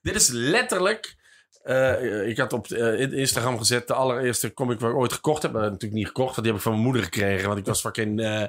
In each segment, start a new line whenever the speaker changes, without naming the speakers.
Dit is letterlijk. eh, ik had op eh, in- Instagram gezet de allereerste comic waar ik ooit gekocht heb. Eh, natuurlijk niet gekocht, want die heb ik van mijn moeder gekregen. Want ik was fucking eh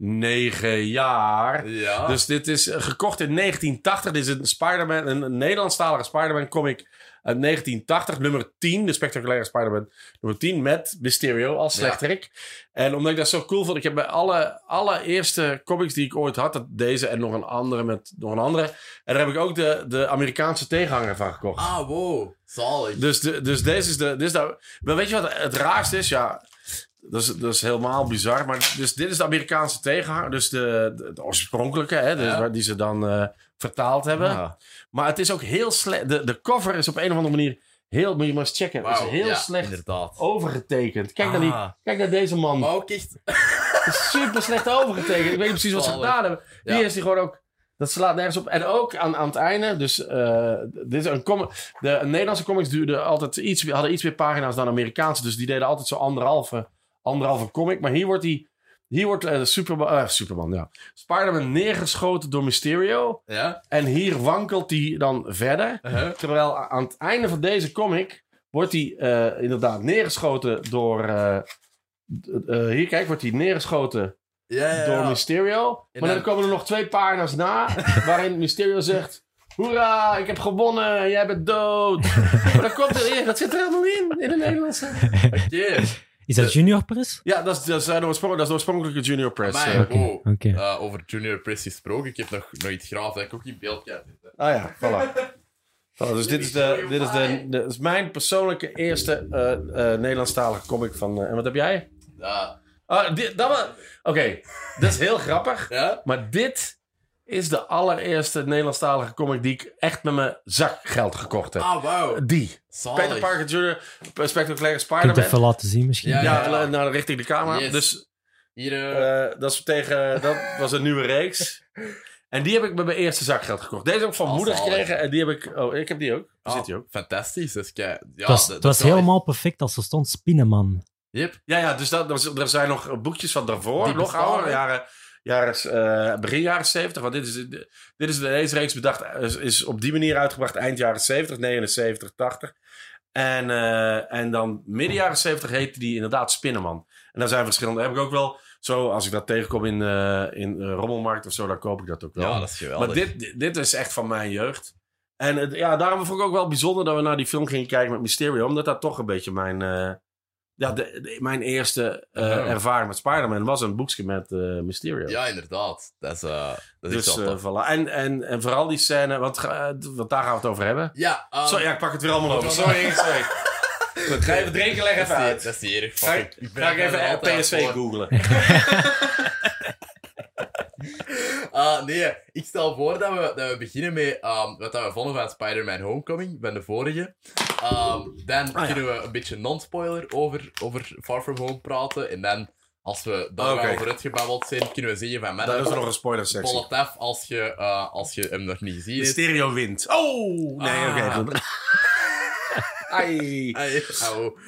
negen jaar.
Ja.
Dus dit is eh, gekocht in 1980. Dit is een, Spider-Man, een, een Nederlandstalige Spider-Man comic uit 1980. Nummer 10, de spectaculaire Spider-Man nummer 10. Met Mysterio als
Ja.
slechterik. En omdat ik dat zo cool vond, ik heb bij alle allereerste comics die ik ooit had, dat deze en nog een andere met nog een andere. En daar heb ik ook de, de Amerikaanse tegenhanger van gekocht.
Ah, wow. Zalig.
Dus, de, dus deze is de. Dit is de maar weet je wat het raarste is? Ja, dat is, dat is helemaal bizar. Maar dus dit is de Amerikaanse tegenhanger. Dus de, de, de oorspronkelijke, hè, dus
Ja.
waar- die ze dan eh, vertaald hebben.
Ah.
Maar het is ook heel slecht. De, de cover is op een of andere manier heel. Moet je maar eens checken. Het
Wauw,
is dus heel
ja,
slecht
Inderdaad.
overgetekend. Kijk, naar die,
Ah.
kijk naar deze man.
Maar ook echt...
Super slecht overgetekend. Ik weet niet precies wat ze
Zalig.
gedaan hebben.
Ja.
Hier is die gewoon ook. Dat slaat nergens op. En ook aan, aan het einde. Dus eh, dit is een comic. De Nederlandse comics duurden altijd iets, hadden iets meer pagina's dan Amerikaanse. Dus die deden altijd zo anderhalve, anderhalve comic. Maar hier wordt die. Hier wordt eh, Superman, eh, Superman, ja. Spider-Man neergeschoten door Mysterio.
Ja?
En hier wankelt hij dan verder.
Uh-huh.
Terwijl a- aan het einde van deze comic wordt hij eh, inderdaad neergeschoten door. eh, d- eh, hier, kijk, wordt hij neergeschoten
Ja, ja,
door
ja.
Mysterio. Maar dan
dan-
komen er nog twee pagina's na, waarin Mysterio zegt... Hoera, ik heb gewonnen, jij bent dood. maar dat, komt er, dat zit er helemaal in, in de Nederlandse.
Oké.
Is
Eh,
dat Junior Press?
Ja, dat is, dat is, eh, de, oorsprong- dat is de oorspronkelijke Junior Press.
Amai,
eh.
Oké.
wow.
Oké.
Eh, over Junior Press gesproken. Ik heb nog, nog iets graaf dat ik ook in beeld kan zetten.
Ah ja, voilà. Voilà, dus dit is, de, dit is, de, de- is mijn persoonlijke eerste eh, eh, Nederlandstalige comic van... eh, en wat heb jij?
Ja.
Ah, dit- dat wa- Oké, dat is heel grappig.
Ja?
Maar dit is de allereerste Nederlandstalige comic die ik echt met mijn zakgeld gekocht heb.
Ah, wauw.
Die.
Zalig.
Eh, Peter Parker Jr., spectaculaire
Kun je het
Spider-Man.
even laten zien misschien?
Ja,
Ja,
ja.
la- naar richting de camera.
Yes.
Dus
Hier, eh,
eh, dat, is tegen, dat was een nieuwe reeks. En die heb ik met mijn eerste zakgeld gekocht. Deze heb ik van
Oh,
moeder
zalig.
gekregen. En die heb ik... Oh, ik heb die ook. Daar
ah,
zit die ook.
Fantastisch. Dus kijk, ja,
het was,
dat-
het
dat
was
kan echt.
helemaal perfect als er stond Spinnenman.
Yep.
Ja, ja, dus dat, dat was- er zijn nog boekjes van daarvoor.
Die
nog
bestaan,
ouder.
hè?
Jaren, jaren, eh, begin jaren 70. Want dit is, dit is deze reeks bedacht. eh, Is, is op die manier uitgebracht eind jaren 70, 79, 80. En, eh, en dan midden jaren 70 heette die inderdaad Spinnenman. En daar zijn verschillende. Heb ik ook wel. Zo, als ik dat tegenkom in, eh, in eh, Rommelmarkt of zo, dan koop ik dat ook wel.
Ja, dat is geweldig.
Maar dit, dit- dit is echt van mijn jeugd. En het- ja, daarom vond ik ook wel bijzonder dat we naar die film gingen kijken met Mysterio. Omdat dat toch een beetje mijn... eh, ja, de- de- mijn eerste eh,
Ja.
ervaring met Spider-Man was een boekje met eh, Mysterio.
Ja, inderdaad. Dat is, eh dat is
dus
echt wel
eh,
tof.
voilà. en, en, en vooral die scène, want, ga- eh, want daar gaan we het over hebben.
Ja, eh,
Sorry, ja, ik pak het weer allemaal over. Ah. Oh, Sorry, sorry. Goed, ga even drinken, leg
dat, is
even
niet,
uit.
dat is niet erg.
Ga
fuck
ik,
it. Ik ben
ga ik
er
even
altijd
PSV
voor.
googlen.
Ah, nee, ik stel voor dat we, dat we beginnen met ehm, wat dat we vonden van Spider-Man Homecoming, van de vorige. Ehm,
Ah,
dan
ja.
kunnen we een beetje non-spoiler over, over Far From Home praten. En dan, als we daar
Oké.
over uitgebabbeld zijn, kunnen we zeggen van...
Daar is er nog een
Pol
spoiler-sectie.
het af als je, eh, als je hem nog niet gezien hebt.
Mysterio wint. Oh! Nee,
Ah.
oké. goed. Ai.
Ai, au.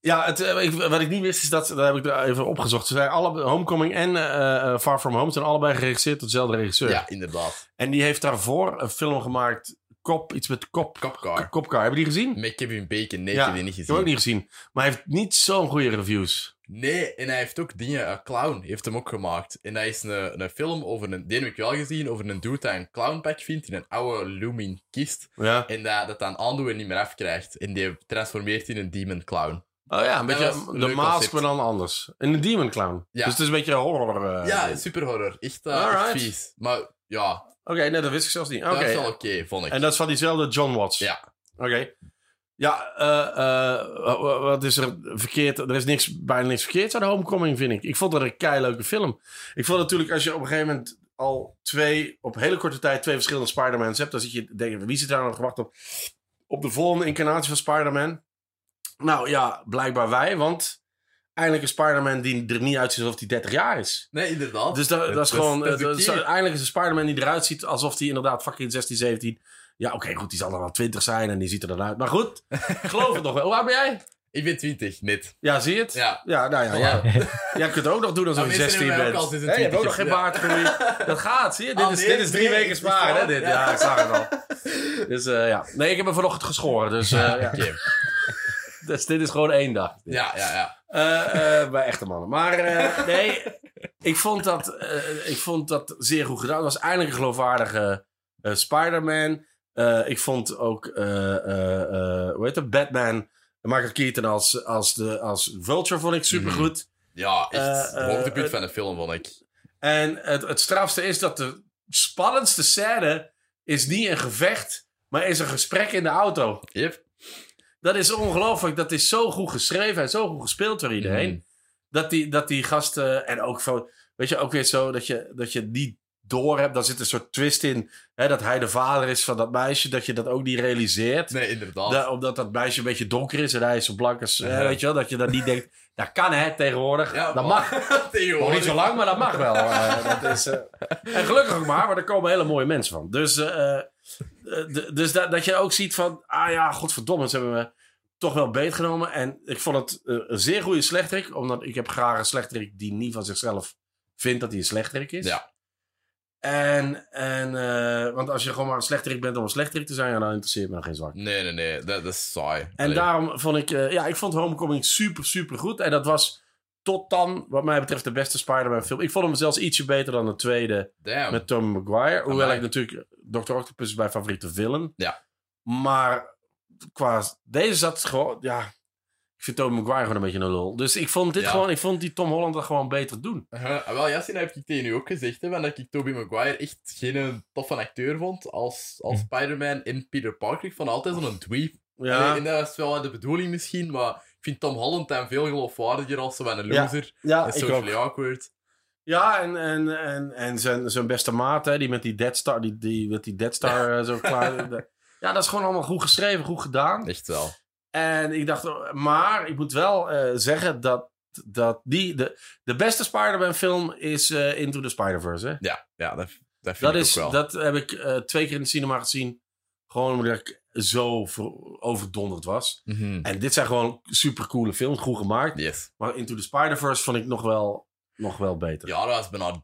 Ja, het, eh, ik- wat ik niet wist is dat, dat heb ik er even opgezocht. Ze zijn alle, Homecoming en eh, eh, Far From Home zijn allebei geregisseerd door dezelfde regisseur.
Ja, inderdaad.
En die heeft daarvoor een film gemaakt, Kop, iets met Kop.
Copcar.
Kopcar, hebben die gezien?
Met Kevin Bacon, nee,
Ja,
ik heb die niet
Ik heb ook
gezien.
niet gezien. Maar hij heeft niet zo'n goede reviews.
Nee, en hij heeft ook dingen, eh, Clown heeft hem ook gemaakt. En dat is een, een film over een, die heb ik wel gezien, over een dude die een clownpak vindt in een oude looming kist.
Ja.
En dat, dat aan aandoen en niet meer afkrijgt. En die transformeert in een demon clown.
Oh ja, een
dat was
beetje
een
de
leuk
mask,
concept.
maar dan anders. En de Demon Clown.
Ja.
Dus het is een beetje horror. eh,
ja,
ding.
super horror. Echt, eh,
Alright.
echt vies. Maar ja,
Oké, nee, dat wist ik zelfs niet. Oké.
dat is wel oké, vond ik.
En dat is van diezelfde John Watts.
Ja.
Oké. Ja, eh, eh, wa- wat is er verkeerd? Er is niks, bijna niks verkeerd aan Homecoming, vind ik. Ik vond dat een keileuke film. Ik vond natuurlijk, als je op een gegeven moment al twee, op hele korte tijd, twee verschillende Spider-Mans hebt, dan zit je, denk je, wie zit daar nog te wachten op? Op de volgende incarnatie van Spider-Man. Nou ja, blijkbaar wij, want eindelijk een Spider-Man die er niet uitziet alsof hij 30 jaar is.
Nee, inderdaad.
Dus dat, dat is gewoon.
dat is de
dat is-
key.
eindelijk is een Spider-Man die eruit ziet alsof hij inderdaad fucking 16, 17. Ja, oké, goed, die zal dan wel 20 zijn en die ziet er dan uit. Maar goed, ik geloof het nog wel. Hoe oud ben jij?
Ik ben 20, net.
Ja, zie je het?
Ja.
nou ja. ja. Jij kunt ook nog doen alsof
Nou,
je 16
mensen hebben mij
bent.
ook al sinds een
Hè, je hebt ook nog
20.
geen baardgroei. Dat gaat, zie je? Dit
Ah,
is,
nee,
dit is drie
nee,
weken
is
sparen, hè?
waar.
Dit.
Ja.
Ja, ik zag het al. Dus eh, ja. Nee, ik heb me vanochtend geschoren. Dus, eh, ja.
Oké.
dus dit is gewoon één dag.
Ja, ja, ja.
Eh, eh, bij echte mannen. Maar eh, nee, ik vond, dat, eh, ik vond dat zeer goed gedaan. Het was eindelijk een geloofwaardige eh, Spider-Man. Eh, ik vond ook, eh, eh, eh, hoe heet het, Batman. Michael Keaton als, als, de, als Vulture vond ik supergoed.
Ja, echt.
Eh, eh,
het hoogtepunt
eh,
van de film, vond ik.
En het, het strafste is dat de spannendste scène is niet een gevecht, maar is een gesprek in de auto.
Yep.
Dat is ongelooflijk. Dat is zo goed geschreven en zo goed gespeeld door iedereen.
Mhm.
Dat, die, dat die gasten. En ook van. Weet je, ook weer zo dat je, dat je niet door hebt. Daar zit een soort twist in. Hè, dat hij de vader is van dat meisje. Dat je dat ook niet realiseert.
Nee, inderdaad.
Da- omdat dat meisje een beetje donker is en hij is zo blank als. hè,
Ja.
weet je wel, dat je dat niet denkt. Dat kan hè tegenwoordig.
Ja,
dat
maar-
mag. Nog
Tegenwoordig.
niet zo lang, maar dat mag wel. Eh, dat is, eh, En gelukkig ook maar, maar er komen hele mooie mensen van. Dus, eh, eh, d- dus dat, dat je ook ziet van... Ah ja, godverdomme, ze hebben me toch wel beetgenomen. En ik vond het eh, een zeer goede slechterik. Omdat ik heb graag een slechterik die niet van zichzelf vindt dat hij een slechterik is.
Ja.
En, en eh, want als je gewoon maar een slechterik bent om een slechterik te zijn... Ja, dan interesseert me geen zwak.
Nee, nee, nee. Dat, dat is saai.
En
Allee.
daarom vond ik, eh, ja, ik vond Homecoming super, super goed. En dat was tot dan, wat mij betreft, de beste Spider-Man film. Ik vond hem zelfs ietsje beter dan de tweede
Damn.
met Tom Maguire. Hoewel
Amai.
ik natuurlijk, Dr. Octopus is mijn favoriete villain.
Ja.
Maar qua, deze zat gewoon, ja, ik vind Tom Maguire gewoon een beetje een lul. Dus ik vond dit
Ja.
gewoon, ik vond die Tom Holland dat gewoon beter doen.
Eh, wel, Yassine heb ik tegen u ook gezegd, hè, want dat ik Tobey Maguire echt geen toffe acteur vond als, als
Hm.
Spider-Man en Peter Parker. Ik vond hem altijd zo'n dweep.
Ja,
Allee, en dat is wel de bedoeling misschien, maar ik vind Tom Holland dan veel geloofwaardiger als zo van een
Ja,
loser.
ja
en
ik
socially
ook.
awkward.
Ja, en, en, en, en zijn, zijn beste maat, hè, die met die Dead Star, die, die, met die Dead Star eh, zo klaar... Ja, dat is gewoon allemaal goed geschreven, goed gedaan.
Echt wel.
En ik dacht, oh, maar ik moet wel eh, zeggen dat, dat die, de, de beste Spider-Man film is eh, Into the Spider-Verse. Hè?
Ja, ja dat, dat vind
Dat,
ik
is,
ook wel.
dat heb ik eh, twee keer in de cinema gezien. Gewoon omdat ik zo ver- overdonderd was.
Mhm.
En dit zijn gewoon supercoole films, goed gemaakt.
Yes.
Maar Into the Spider-Verse vond ik nog wel, nog wel beter.
Ja, dat is bijna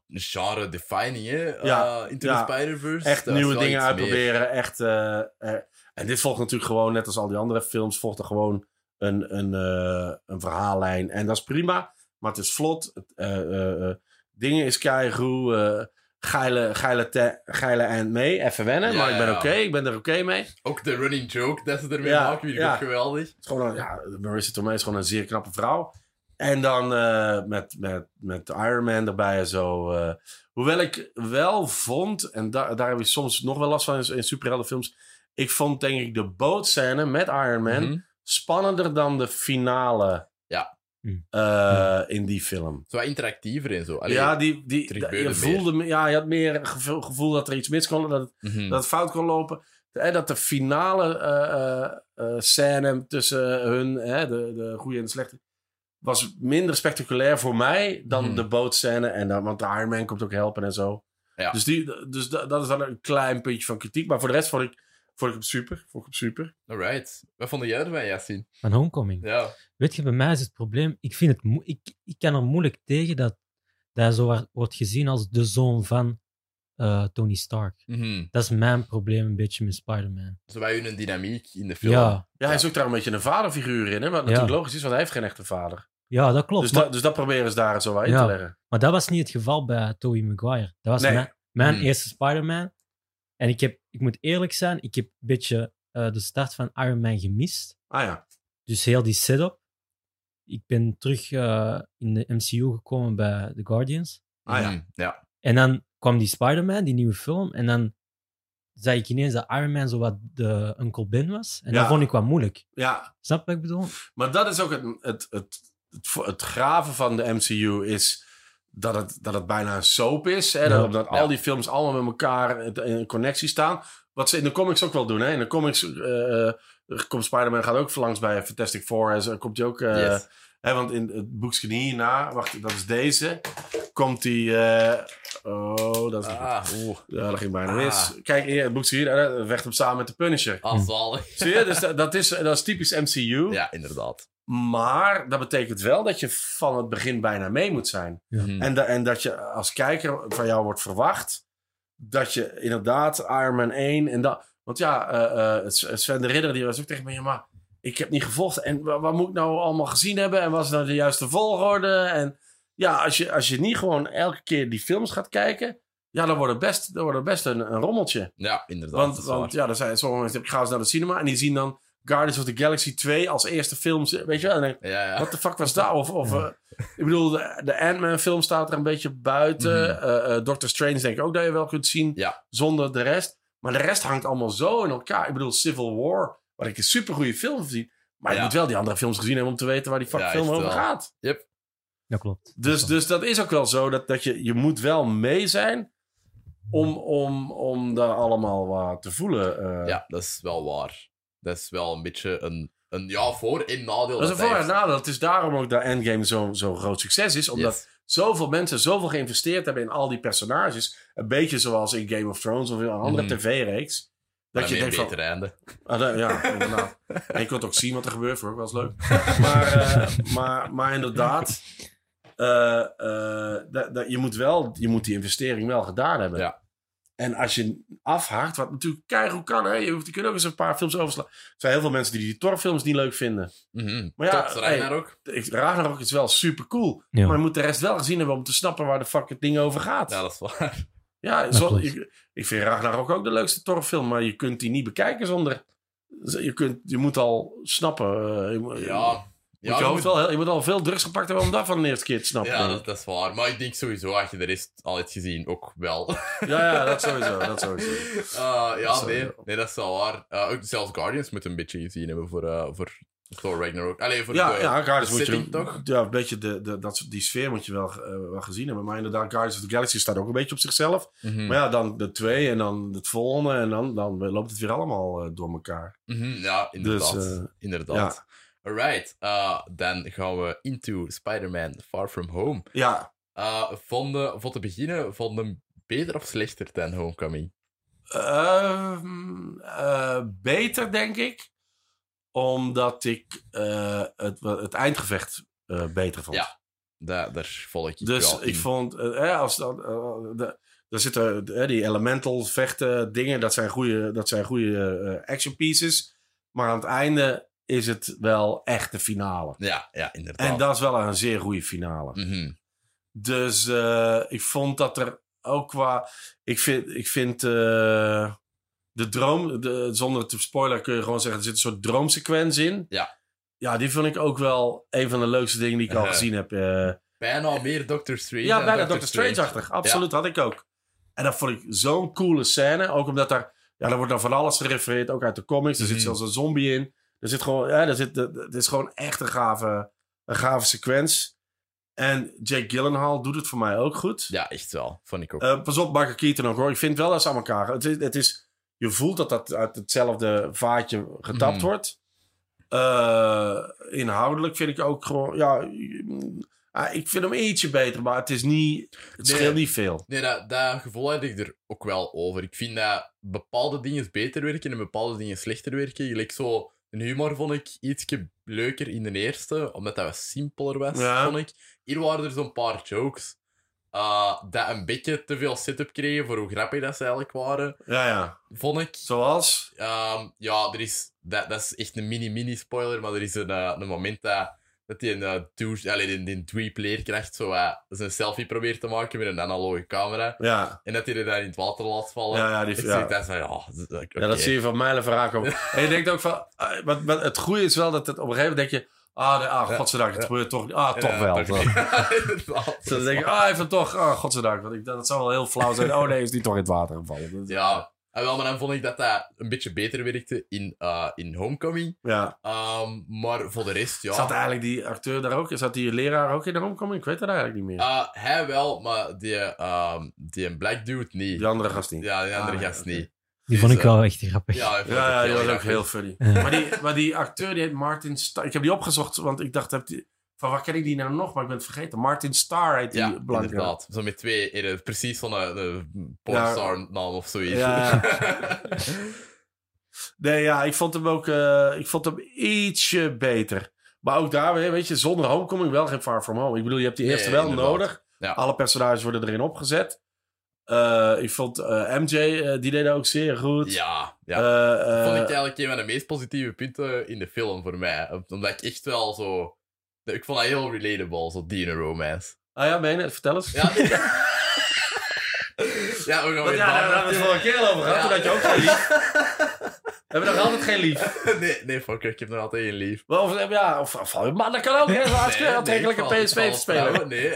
genre-defining, hè.
Ja,
Eh, Into
ja.
the Spider-Verse.
Echt
Dat is
nieuwe
wel
dingen
iets meer.
uitproberen. Echt, eh, eh, en dit volgt natuurlijk gewoon, net als al die andere films, volgt er gewoon een, een, eh, een verhaallijn. En dat is prima, maar het is vlot. Het, eh, eh, eh, dingen is keigoed. eh geile, geile, te- geile eind mee. Even wennen,
Ja,
maar ik ben
ja.
oké. ik ben er oké mee. Het
Ook de running joke dat ze ermee
Ja,
maken, vind ik
ja.
ook geweldig.
is gewoon een, ja, Marissa Tomei is gewoon een zeer knappe vrouw. En dan eh, met, met, met Iron Man erbij en zo. eh. hoewel ik wel vond, en da- daar heb ik soms nog wel last van in, in superheldenfilms. Ik vond denk ik de bootscène met Iron Man
Mhm.
spannender dan de finale
Ja.
Hm.
eh, in die film.
Zo wat interactiever en zo. Allee,
ja, die, die,
er gebeurde
je, voelde, me- ja, je had meer gevoel, gevoel dat er iets mis kon. Dat,
mhm.
dat het fout kon lopen. En dat de finale eh, eh, eh, scène tussen hun, hè, de, de goede en de slechte, was minder spectaculair voor mij dan
Mhm.
de bootscène. En dan, want de Iron Man komt ook helpen en zo.
Ja.
Dus, die, dus da- dat is dan een klein puntje van kritiek. Maar voor de rest vond ik, vond ik hem super. Vond ik hem super.
Alright. Wat vond jij ervan, Yassine?
Van Homecoming.
Ja.
Weet je, bij mij is het probleem... Ik, vind het moe- ik, ik kan er moeilijk tegen dat, dat hij zo wa- wordt gezien als de zoon van eh, Tony Stark.
Mhm.
Dat is mijn probleem een beetje met Spider-Man.
Zo bij hun een dynamiek in de film.
Ja,
Ja, hij is ook daar een beetje een vaderfiguur in. Hè? Wat natuurlijk logisch is, want hij heeft geen echte vader.
ja, dat klopt.
Dus,
maar,
dat, dus dat proberen ze daar zo aan
Ja.
in te leggen.
maar dat was niet het geval bij Tobey Maguire. Dat was
Nee.
mijn, mijn
Hmm.
eerste Spider-Man. En ik, heb, ik moet eerlijk zijn, ik heb een beetje eh, de start van Iron Man gemist.
Ah ja.
Dus heel die setup. Ik ben terug eh, in de MCU gekomen bij The Guardians.
Ah, ja.
Mhm. ja.
En dan kwam die Spider-Man, die nieuwe film. En dan zag ik ineens dat Iron Man zo wat de Uncle Ben was. En
Ja.
dat vond ik wat moeilijk.
ja,
Snap je wat ik bedoel?
Maar dat is ook het, het, het, het, het graven van de MCU is dat het, dat het bijna een soap is. Hè? Dat,
Ja.
omdat
Ja.
al die films allemaal met elkaar in- in connectie staan. Wat ze in de comics ook wel doen. Hè? In de comics eh, eh, komt Spider-Man gaat ook langs bij Fantastic Four. En zo komt hij ook... eh,
Yes.
hè, want in het boekje hierna, wacht, dat is deze. Komt die... eh, oh, dat is... niet goed.
Ah, oeh.
Ja, dat ging bijna
Ah.
mis. Kijk, hier, het boekje hier, eh, vecht hem samen met de Punisher.
Ah, zalig.
Zie je? Dus dat, dat, is, dat is typisch MCU.
Ja, inderdaad.
Maar dat betekent wel dat je van het begin bijna mee moet zijn.
Mhm.
En, da- en dat je als kijker van jou wordt verwacht dat je inderdaad Iron Man 1 en dat. Want ja, eh, eh, S- Sven de Ridder die was ook tegen me: ja, maar ik heb niet gevolgd. En wa- wat moet ik nou allemaal gezien hebben? En was nou de juiste volgorde? En ja, als je, als je niet gewoon elke keer die films gaat kijken, ja, dan wordt het best, dan wordt het best een, een rommeltje.
Ja, inderdaad.
Want,
dat is
want
waar.
ja, er zijn sommige mensen die gaan eens naar de cinema en die zien dan Guardians of the Galaxy 2 als eerste film. Weet je wel? En dan
ja, ja.
wat de fuck was dat? Of, of eh, ik bedoel, de, de Ant-Man film staat er een beetje buiten.
Mhm.
Eh, eh, Doctor Strange denk ik ook dat je wel kunt zien
Ja.
zonder de rest. Maar de rest hangt allemaal zo in elkaar. Ik bedoel, Civil War, waar ik een supergoeie film van zie. Maar je
Ja.
moet wel die andere films gezien hebben om te weten waar die fuck
Ja,
film
echt
over
wel.
gaat.
Dat klopt.
Dus,
Dat
dus dat is ook wel zo. Dat, dat je, je moet wel mee zijn om, om, om dat allemaal wat te voelen. eh.
ja, dat is wel waar. Dat is wel een beetje een, een ja voor en nadeel.
Dat is een voor-
hij
en
heeft.
nadeel. Het is daarom ook dat Endgame zo'n zo groot succes is. Omdat
Yes.
zoveel mensen zoveel geïnvesteerd hebben in al die personages. Een beetje zoals in Game of Thrones of in een andere
Mhm.
tv-reeks. Dat
Maar
je
met een
denkt van...
beter einde.
Ah, dat- ja, inderdaad. en je kunt ook zien wat er gebeurt, hoor. Dat is leuk. Maar, eh, maar, maar inderdaad... eh, eh, dat, dat, je, moet wel, je moet die investering wel gedaan hebben.
Ja.
En als je afhaakt, wat natuurlijk keigoed kan... Hè? Je, hoeft, je kunt ook eens een paar films overslaan. Er zijn heel veel mensen die die Thor-films niet leuk vinden.
Mhm.
Maar ja,
Tot
hey,
Ragnarok.
Ik- Ragnarok is wel super cool.
Ja.
Maar je moet de rest wel gezien hebben om te snappen waar de fuck het ding over gaat.
Ja,
Ja,
dat is waar.
dat
zo,
klopt.
ik, ik vind Ragnarok ook de leukste Thor-film, maar je kunt die niet bekijken zonder. Je, kunt, je moet al snappen. eh, je, moet- je moet
Ja. Ja,
je,
je
hoofd wel, heel- je moet al veel drugs gepakt hebben om dat van de eerste keer te snappen.
ja
Ja,
dat, dat is waar. Maar ik denk sowieso, als je de rest al hebt gezien, ook wel.
ja, dat sowieso. Dat sowieso.
Eh, ja,
Sorry.
nee, nee, dat is wel waar. Eh, ook zelfs Guardians moet een beetje gezien hebben voor, eh, voor Thor Ragnarok. Allee, voor
Ja,
de,
ja Guardians moet je...
setting toch?
Ja, een beetje de, de, dat, die sfeer moet je wel, eh, wel gezien hebben. Maar inderdaad, Guardians of the Galaxy staat ook een beetje op zichzelf.
Mhm.
Maar ja, dan de twee en dan het volgende. En dan, dan loopt het weer allemaal eh, door elkaar.
Mhm, ja, inderdaad.
Dus, eh,
inderdaad. Alright, eh, dan gaan we into Spider-Man Far From Home.
Ja,
Eh van, de, van te beginnen, van de beter of slechter dan Homecoming?
Ehm, eh, beter, denk ik. Omdat ik eh, het, het eindgevecht eh, beter vond.
Ja, Daar, daar volg ik
dus
wel
ik
in.
vond... eh, hè, als dat, eh, de, daar zitten eh, die elemental vechten dingen. Dat zijn goede, dat zijn goede eh, action pieces. Maar aan het einde is het wel echt de finale.
Ja, ja, inderdaad.
En dat is wel een zeer goede finale.
Mhm.
Dus eh, ik vond dat er ook qua. Ik vind, ik vind eh, de droom. De, zonder te spoiler kun je gewoon zeggen: er zit een soort droomsequentie in.
Ja.
Ja, die vond ik ook wel een van de leukste dingen die ik al
Eh,
gezien heb. eh.
Bijna meer Doctor Strange.
ja,
dan
bijna Doctor Strange-achtig. Absoluut, had ik ook. En dat vond ik zo'n coole scène. Ook omdat daar. Ja, daar wordt dan van alles gerefereerd. Ook uit de comics. Er zit
Mhm.
zelfs een zombie in. Er zit gewoon. Ja, er zit, het is gewoon echt een gave, een gave sequence. En Jake Gyllenhaal doet het voor mij ook goed.
Ja, echt wel. Vond ik ook.
Eh, pas op, Michael Keaton ook hoor. Ik vind wel dat ze aan elkaar... Het is, het is, je voelt dat dat uit hetzelfde vaatje getapt
Mhm.
wordt. Eh, inhoudelijk vind ik ook gewoon... Ja, mm, ah, ik vind hem ietsje beter, maar het is niet... Het
Nee.
scheelt niet veel.
Nee, dat, dat gevoel had ik er ook wel over. Ik vind dat bepaalde dingen beter werken en bepaalde dingen slechter werken. Gelijk zo, een humor vond ik ietsje leuker in de eerste, omdat dat wat simpeler was,
Ja.
vond ik. Hier waren er zo'n paar jokes eh, dat een beetje te veel setup kregen voor hoe grappig dat ze eigenlijk waren,
Ja, ja.
vond ik.
Zoals?
Ehm, ja, er is, dat, dat is echt een mini-mini-spoiler, maar er is een, eh, een moment dat, dat die, eh douche, allee, die, die dweep-leerkracht zo, eh, zijn selfie probeert te maken met een analoge camera.
Ja.
En dat hij er dan in het water laat vallen.
Ja, ja, die,
ik
ja.
zeg dat is van, ja, z- oké.
ja, dat zie je van mijlen verraak ook. En je denkt ook van... ah, maar, maar het goede is wel dat het op een gegeven moment denk je... Ah, de, ah
Ja.
godzijdank, het
Ja.
gebeurt toch niet. Ah, toch
Ja,
wel.
toch. Ja, inderdaad.
Ze denken, ah, even toch, ah, godzijdank. Want ik, dacht, dat zou wel heel flauw zijn. Oh nee, is die toch in het water gevallen. Dat-
Ja, en wel, maar dan vond ik dat dat een beetje beter werkte in, eh, in Homecoming.
ja.
Ehm, maar voor de rest, ja.
Zat eigenlijk die acteur daar ook? Zat die leraar ook in de homecoming? Ik weet het eigenlijk niet meer.
Eh, hij wel, maar die, ehm, die een black dude niet.
die andere gast niet.
Ja, die andere
Ah,
gast
oké.
niet.
Die vond ik
Dus,
wel echt grappig.
Ja, hij vond
Ja,
het
ja, die was ook
grappig.
heel funny.
Ja.
Maar die, maar die acteur, die heet Martin Starr. Ik heb die opgezocht, want ik dacht, heb die, van waar ken ik die nou nog? Maar ik ben het vergeten. Martin Starr heet die
Ja,
blanke.
inderdaad. Zo met twee, eh, precies van een, een
Ja.
pornstar naam of zoiets.
Ja. Nee, ja, ik vond hem ook, eh, ik vond hem ietsje beter. Maar ook daar weer, weet je, zonder Homecoming wel geen Far From Home. Ik bedoel, je hebt die
Nee,
eerste wel
inderdaad.
nodig.
Ja.
Alle personages worden erin opgezet. Eh, ik vond eh, MJ, eh, die deed ook zeer goed.
Ja, ja.
Eh, eh,
vond ik eigenlijk een van de meest positieve punten in de film voor mij. Omdat ik echt wel zo... Ik vond dat heel relatable, zo Dino Romance.
Ah ja, meen je? Vertel eens.
Ja, nee. ja we gaan
Want
weer
ja, daar hebben we het vorige keer over gehad.
Ja.
Toen had je ook geen lief. We hebben nog altijd geen lief.
babbelen. Nee, nee, fuck, ik heb nog altijd één lief.
Wel, Of, ja, of, of- maar dat kan ook. Hè, zo'n
Nee, nee,
aantrekkelijke
ik val- ik
PSV
val
te spelen.
vrouwen, Nee.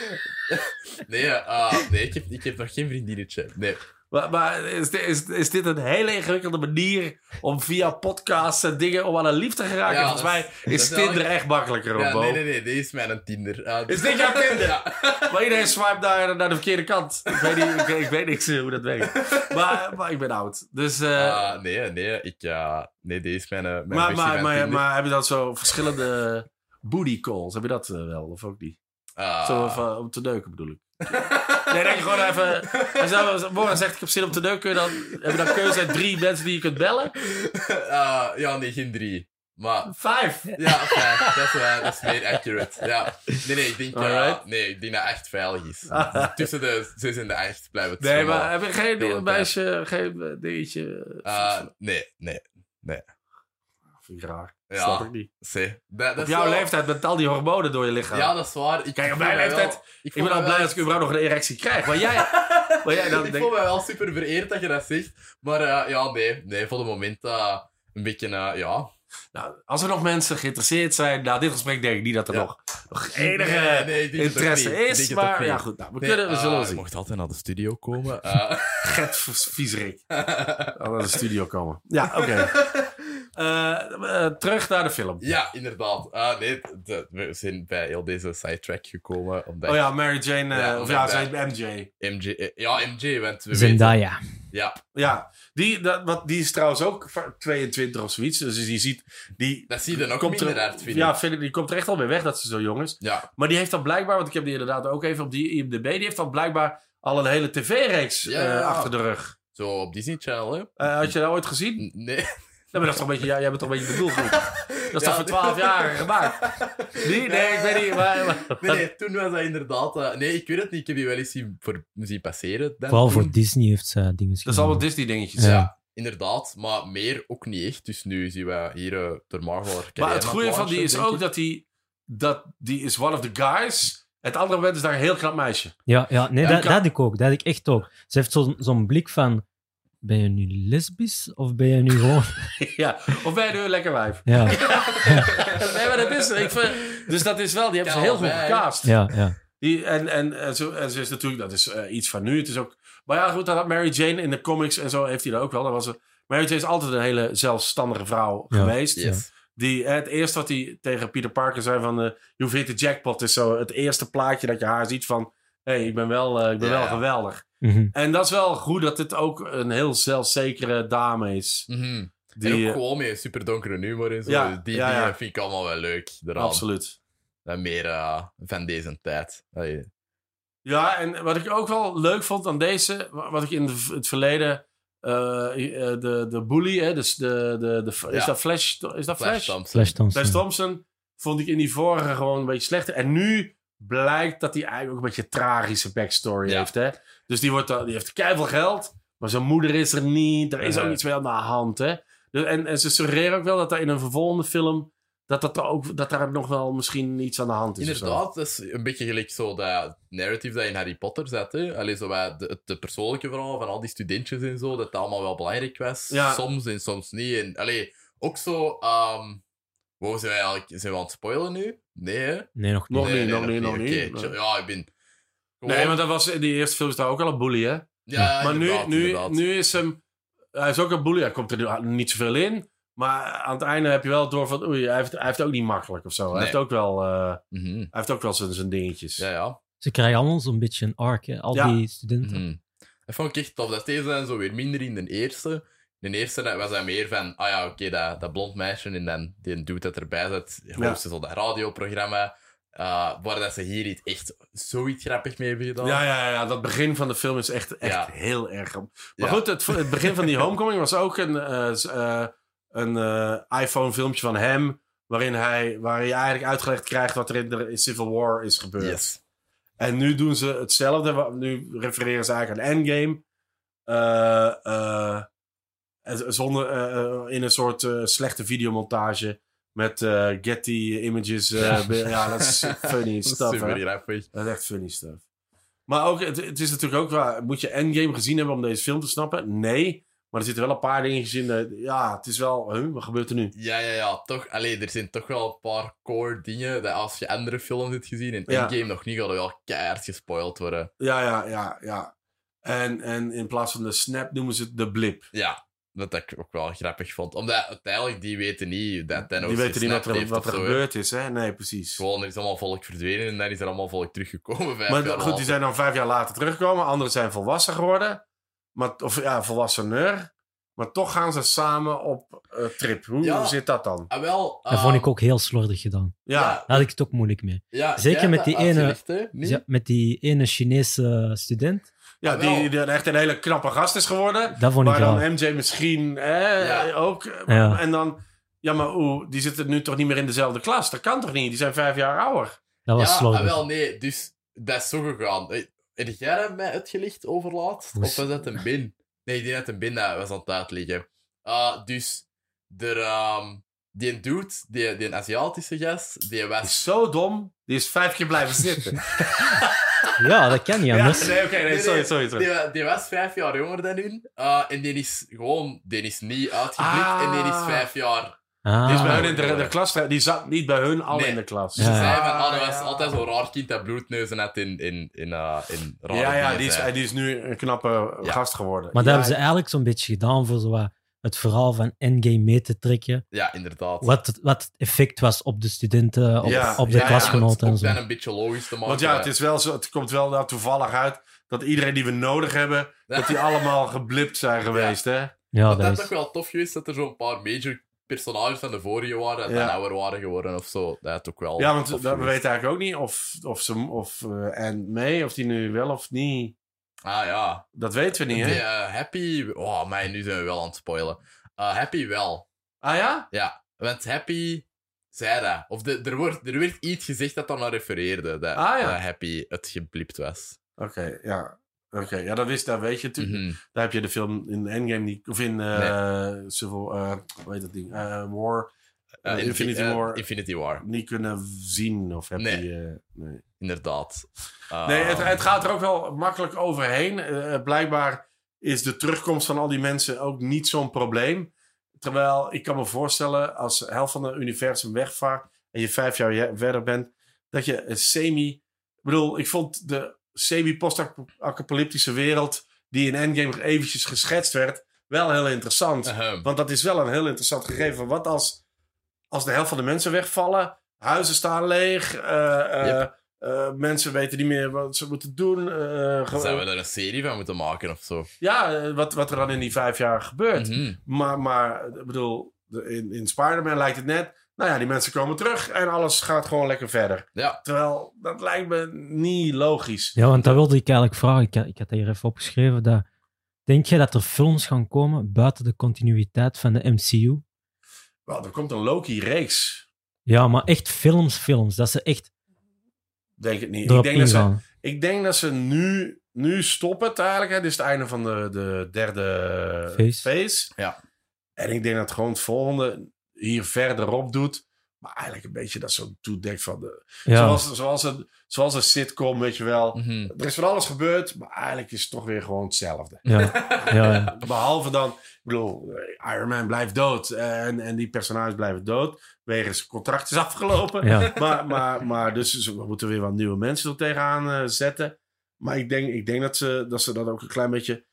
nee, eh, nee ik, heb, ik heb nog geen vriendinnetje. Nee.
Maar, maar is, di- is, is dit een hele ingewikkelde manier om via podcasts en dingen om aan een lief te geraken?
Ja,
Volgens mij
dat is-
is
dat is
Tinder
wel-
echt makkelijker,
Ja,
Robo.
nee, nee, nee, dit is mijn Tinder. Eh,
Is dit jouw Tinder?
Ja.
Maar iedereen swipe daar naar de verkeerde kant. Ik weet, niet, ik, ik weet niks eh, hoe dat werkt. Maar, maar ik ben oud. Dus, eh,
Ah, nee, nee, ik, ja nee, dit is mijn, eh, mijn
maar,
versie
maar,
van
maar,
Tinder.
maar heb je dan zo verschillende booty calls? Heb je dat eh, wel of ook niet?
Ah.
Zo even om te neuken bedoel ik. nee, denk je gewoon even. Als nou, Morgen zegt ik heb zin om te neuken, dan heb je dan keuze uit drie mensen die je kunt bellen.
Eh, ja, nee, geen drie. Maar
Vijf.
Ja, vijf. dat, is, waar, dat is meer accurate. Ja. Nee, nee, ik denk, eh,
Alright.
nee, ik denk dat echt veilig is. Dus Tussen de 6 en de 8 blijven het
Nee,
zo
maar heb je
Heel
geen
erg.
meisje, geen eh, dingetje?
wel. Eh, nee, nee.
Vind ik raar.
Ja.
Snap ik niet.
See. Dat, dat
Op
is
jouw
wel-
leeftijd met al die hormonen door je lichaam.
Ja, dat is waar. Ik
Kijk, op
voel
mijn
mij
leeftijd-
wel-
ik ben
voel
al
mij
blij
wel-
dat ik überhaupt nog een erectie krijg. Maar jij, maar jij dan
ik
denk
voel mij wel super vereerd dat je dat zegt. Maar eh, ja, nee, nee, voor de moment eh, een beetje, eh, ja.
Nou, als er nog mensen geïnteresseerd zijn, na dit gesprek denk ik niet dat er
Ja.
nog, nog enige
Nee, nee, ik denk het ook
interesse
niet. Ik denk
is.
het ook
Maar
niet.
ja, goed, nou, we,
Nee,
kunnen, we
eh,
zullen wel
Je
zien.
mocht altijd naar de studio komen. Eh,
Gert v- Vieserik. Al naar de studio komen. Ja, oké. Eh, eh, terug naar de film.
ja, inderdaad. Eh, nee, de- we zijn bij heel deze sidetrack gekomen. Omdat
Oh ja, Mary Jane, eh,
Ja,
of ja,
dat-
zij MJ.
MJ, eh, ja, MJ, want we weten...
Zendaya.
Ja,
Ja, die, dat, wat, die is trouwens ook va- 22 of zoiets. Dus die ziet... Die
dat zie je dan ook
komt
minder
er,
hard, vind
ja,
ik.
vind ik, die komt er echt al mee weg dat ze zo jong is.
Ja,
Maar die heeft dan blijkbaar, want ik heb die inderdaad ook even op die IMDb, die heeft dan blijkbaar al een hele tv-reeks
Ja,
eh,
ja, ja.
achter de rug.
zo op Disney Channel, hè.
Eh, had je dat ooit gezien? Nee,
N- Nee.
maar dat is toch een beetje, ja, jij bent toch een beetje de doelgroep. Dat is toch
Ja,
voor
nee.
12 jaar gemaakt? Nee, nee, ik weet niet. Maar, maar-
Nee, nee, toen was dat inderdaad... eh, nee, ik weet het niet. Ik heb die wel eens zien, voor, zien passeren. Dan
Vooral
toen. Dus
voor Disney heeft ze dingen
Dat is allemaal Disney-dingetjes.
Ja.
Ja.
inderdaad. Maar meer ook niet echt. Dus nu zien we hier eh, door Marvel haar
Maar
carrière
het goede
aan
van die is
launchen, denk
ook
ik.
dat die, dat die is one of the guys. Het andere moment is daar een heel knap meisje.
Ja, ja nee,
Ja,
dat,
ik kan-
dat had ik ook. Dat had ik echt ook. Ze heeft zo'n zo'n blik van... Ben je nu lesbisch of ben je nu gewoon...
ja. Of ben je nu een lekker wijf?
Ja,
nee, maar dat is het. Ik vind- Dus dat is wel, die hebben ze heel goed
Kalmijn.
gecast.
ja, ja.
Die, en, en, en, zo, en ze is natuurlijk, dat is eh, iets van nu. Het is ook, maar ja, goed, dat had Mary Jane in de comics en zo heeft hij dat ook wel. Dat was, een- Mary Jane is altijd een hele zelfstandige vrouw
Ja.
geweest.
Yes.
Die, hè, het eerste wat hij tegen Peter Parker zei van... eh je hoeft niet de jackpot is zo het eerste plaatje dat je haar ziet van... Hé, hey, ik ben, wel, eh, ik ben
Ja.
wel geweldig.
Mhm.
En dat is wel goed dat dit ook een heel zelfzekere dame is.
Mhm.
Die,
en ook
eh,
gewoon met een super donkere humor en zo.
Ja,
Dus die
ja,
dingen
ja.
vind ik allemaal wel leuk. eraan.
absoluut.
En meer eh, van deze tijd. Allee.
Ja, en wat ik ook wel leuk vond aan deze, wa- wat ik in de v- het verleden. eh, eh, de, de bully, hè, dus de, de, de, is
Ja.
dat Flash? Is dat Flash?
Flash Thompson.
Flash Thompson.
Flash Thompson vond ik in die vorige gewoon een beetje slechter. En nu blijkt dat hij eigenlijk ook een beetje een tragische backstory
Ja.
heeft. Hè? Dus die, wordt, dan- die heeft keihard geld, maar zijn moeder is er niet. Er is ook
Mhm.
iets mee aan de hand. Hè? Dus, en, en ze suggereren ook wel dat daar in een vervolgende film. Dat, dat, daar ook, dat daar nog wel misschien iets aan de hand is. of zo.
Inderdaad, dat is een beetje gelijk zo dat narrative dat in Harry Potter zat. Hè? Allee, zo wat de, de persoonlijke verhaal van al die studentjes en zo, dat dat allemaal wel belangrijk was.
Ja.
Soms en soms niet. En, allee, ook zo... ehm wow, zijn we eigenlijk... Zijn we aan het spoilen nu? Nee, hè?
Nee, nog niet.
Nog
nee,
niet,
nee,
nog niet, nog
Oké,
niet.
chill. Ja, ik ben...
Nee, want dat was, in die eerste film is daar ook al een bully, hè?
Ja,
Maar nu,
inderdaad,
nu,
inderdaad.
nu is hem. Hij is ook een bully. Hij komt er nu niet zoveel in. Maar aan het einde heb je wel door van. Oei, hij heeft, hij heeft het ook niet makkelijk of zo. Hij,
Nee.
heeft ook wel, eh,
Mhm.
hij heeft ook wel zijn, zijn dingetjes.
Ja, ja.
Ze krijgen allemaal zo'n beetje een arc, hè. al
Ja.
die
Mm-hmm.
studenten.
Mhm. Dat vond ik echt tof. Dat deze dan zo weer minder in de eerste. In de eerste dat was hij meer van, ah ja, oké, dat, dat blond meisje en dan die dude dat erbij zat,
Ja.
host ze zo dat radioprogramma, eh, waar dat ze hier iets echt zoiets grappig mee hebben gedaan.
Ja, ja, ja, dat begin van de film is echt, echt
Ja.
heel erg. Maar
Ja.
goed, het, het begin van die homecoming was ook een, eh, s- eh, een eh, iPhone-filmpje van hem. Waarin hij, waarin je eigenlijk uitgelegd krijgt wat er in, de, in Civil War is gebeurd.
Yes.
En nu doen ze hetzelfde. wa- Nu refereren ze eigenlijk aan Endgame. Eh, eh, het- zonder, eh, eh, in een soort eh, slechte videomontage. Met eh, Getty images. eh,
Ja.
be- ja. dat is funny stuff.
Super
hè.
grappig.
Dat is echt funny stuff. Maar ook, het, het is natuurlijk ook waar. Moet je Endgame gezien hebben om deze film te snappen? Nee. Maar er zitten wel een paar dingetjes in. eh, ja, het is wel. huh, wat gebeurt er nu?
Ja, ja, ja. Toch, allee, er zijn toch wel een paar core dingen dat als je andere films hebt gezien en
Ja.
Endgame nog niet, gaat er wel keihard gespoild worden.
Ja, ja, ja, ja. En, en in plaats van de snap noemen ze het de blip.
Ja, dat ik ook wel grappig vond. Omdat uiteindelijk, die weten niet dat Thanos
Die weten niet wat
gesnapt
er,
heeft
wat er
of zo, hè.
gebeurd is, hè? Nee, precies.
Gewoon, er is allemaal volk verdwenen en dan is er allemaal volk teruggekomen. vijf
Maar
jaar
goed, die
later.
zijn dan vijf jaar later teruggekomen. Anderen zijn volwassen geworden. Maar, of ja, volwassener. Maar toch gaan ze samen op eh, trip. Hoe,
Ja.
hoe zit dat dan?
Ah, wel,
Dat vond ik ook heel slordig gedaan.
Ja,
Daar had ik het ook moeilijk mee.
ja,
Zeker
jij
met
had
die
dat
ene-
uitgelegd, hè? Niet?
Ja, met die ene Chinese student,
ja,
Ah, wel.
die, die echt een hele knappe gast is geworden.
dat vond ik
Maar dan
raar.
MJ misschien hè,
Ja.
ook. eh,
Ja.
En dan, ja, maar oeh, die zitten nu toch niet meer in dezelfde klas? Dat kan toch niet? Die zijn vijf jaar ouder.
Dat was
ja,
slordig.
ah, wel, nee. Dus dat is zo gegaan. Eh, Heb jij dat mij uitgelicht overlaat?
Hoe
Of
is-
was dat een bin? Nee, ik denk dat een bin dat was aan het uitleggen. Ah, dus, de, ehm, die dude, die, die Aziatische gast, die
Die
was...
is zo dom. Die is vijf keer blijven zitten.
Ja, dat kan niet
ja,
anders.
nee, oké, nee,
nee,
sorry, sorry. sorry.
Die, wa- die was vijf jaar jonger dan hun. Ah, en die is gewoon... Die is niet uitgeblikt
Ah.
en die is vijf jaar...
Ah,
Die is bij
Ah.
hun in de, de klas. Die zat niet bij hun al
Nee.
in de klas.
Dus ze
Ja.
zei van, ah, dat
Ah,
was
ja.
altijd zo'n raar kind dat bloedneuzen had in, in, in, eh, in rare
Ja, ja,
dingen
die is,
zei.
hij- die is nu een knappe
Ja.
gast geworden.
maar dat
ja,
hebben ze eigenlijk zo'n beetje gedaan voor zo wat het verhaal van Endgame mee te trekken.
Ja, inderdaad.
Wat het, wat het effect was op de studenten, op,
Ja,
op de
ja, ja,
klasgenoten
om
en
het
zo.
dan een beetje logisch te maken.
Want ja, het, is wel zo, het komt wel nou toevallig uit dat iedereen die we nodig hebben, dat die allemaal geblipt zijn geweest, hè?
Ja,
Want dat
dat
is toch
is...
wel tof geweest dat er zo'n paar major personages van de vorige waren en
Ja.
dan ouder waren geworden of zo. Dat had ook wel.
Ja, want
tof
dat- we
geweest.
weten eigenlijk ook niet of, of ze of, eh, en mee, of die nu wel of niet.
Ah ja.
Dat weten we
Die,
niet, hè?
eh, Happy. Oh, mij, nu zijn we wel aan het spoilen. Eh, happy wel.
Ah ja?
Ja. Want Happy zei dat. Of de, er, wordt, er werd iets gezegd dat dan naar refereerde. Dat,
Ah, ja.
dat Happy het geblipt was.
Oké, ja. Oké, ja, dat, wist, dat weet je natuurlijk.
Mhm.
Daar heb je de film in Endgame niet, of in eh Civil, eh, hoe heet dat ding? Eh, War,
Eh,
eh,
Infi-
Infinity
eh,
War,
Infinity War,
niet kunnen zien. Of heb
Nee.
je... eh, nee.
inderdaad. Eh,
Nee, het, het gaat er ook wel makkelijk overheen. Eh, blijkbaar is de terugkomst van al die mensen ook niet zo'n probleem. Terwijl ik kan me voorstellen, als de helft van het universum wegvaart en je vijf jaar je- verder bent, dat je een semi. Ik bedoel, ik vond de semi-post-apocalyptische wereld die in Endgame eventjes geschetst werd, wel heel interessant.
Ahem.
Want dat is wel een heel interessant gegeven. Wat als, als de helft van de mensen wegvallen, huizen staan leeg, eh, eh, eh, mensen weten niet meer wat ze moeten doen. eh, ge-
Zouden we er een serie van moeten maken of zo?
Ja, eh, wat, wat er dan in die vijf jaar gebeurt.
Mhm.
Maar, maar ik bedoel, de- in, in Spider-Man lijkt het net, nou ja, die mensen komen terug en alles gaat gewoon lekker verder.
Ja.
Terwijl, dat lijkt me niet logisch.
Ja, want dat wilde ik eigenlijk vragen. Ik, had- ik had dat hier even opgeschreven. Dat, denk jij dat er films gaan komen buiten de continuïteit van de MCU?
Wel, er komt een Loki-reeks.
Ja, maar echt films, films. Dat ze echt
Denk het niet. Ik
erop
denk dat ze
ingaan.
Ik denk dat ze nu, nu stoppen het eigenlijk. Hè. Dit is het einde van de, de derde
Phase.
phase.
Ja.
En ik denk dat gewoon het volgende hier verderop doet. Maar eigenlijk een beetje dat zo toedekt van... De,
Ja,
zoals, zoals, een, zoals een sitcom, weet je wel.
Mhm.
Er is van alles gebeurd, maar eigenlijk is het toch weer gewoon hetzelfde.
ja, ja, ja.
Behalve dan, ik bedoel, eh, Iron Man blijft dood. En, en die personages blijven dood. Wegens zijn contract is afgelopen.
ja.
Maar, maar, maar dus ze- we moeten weer wat nieuwe mensen er tegenaan eh, zetten. Maar ik denk, ik denk dat, ze, dat ze dat ook een klein beetje.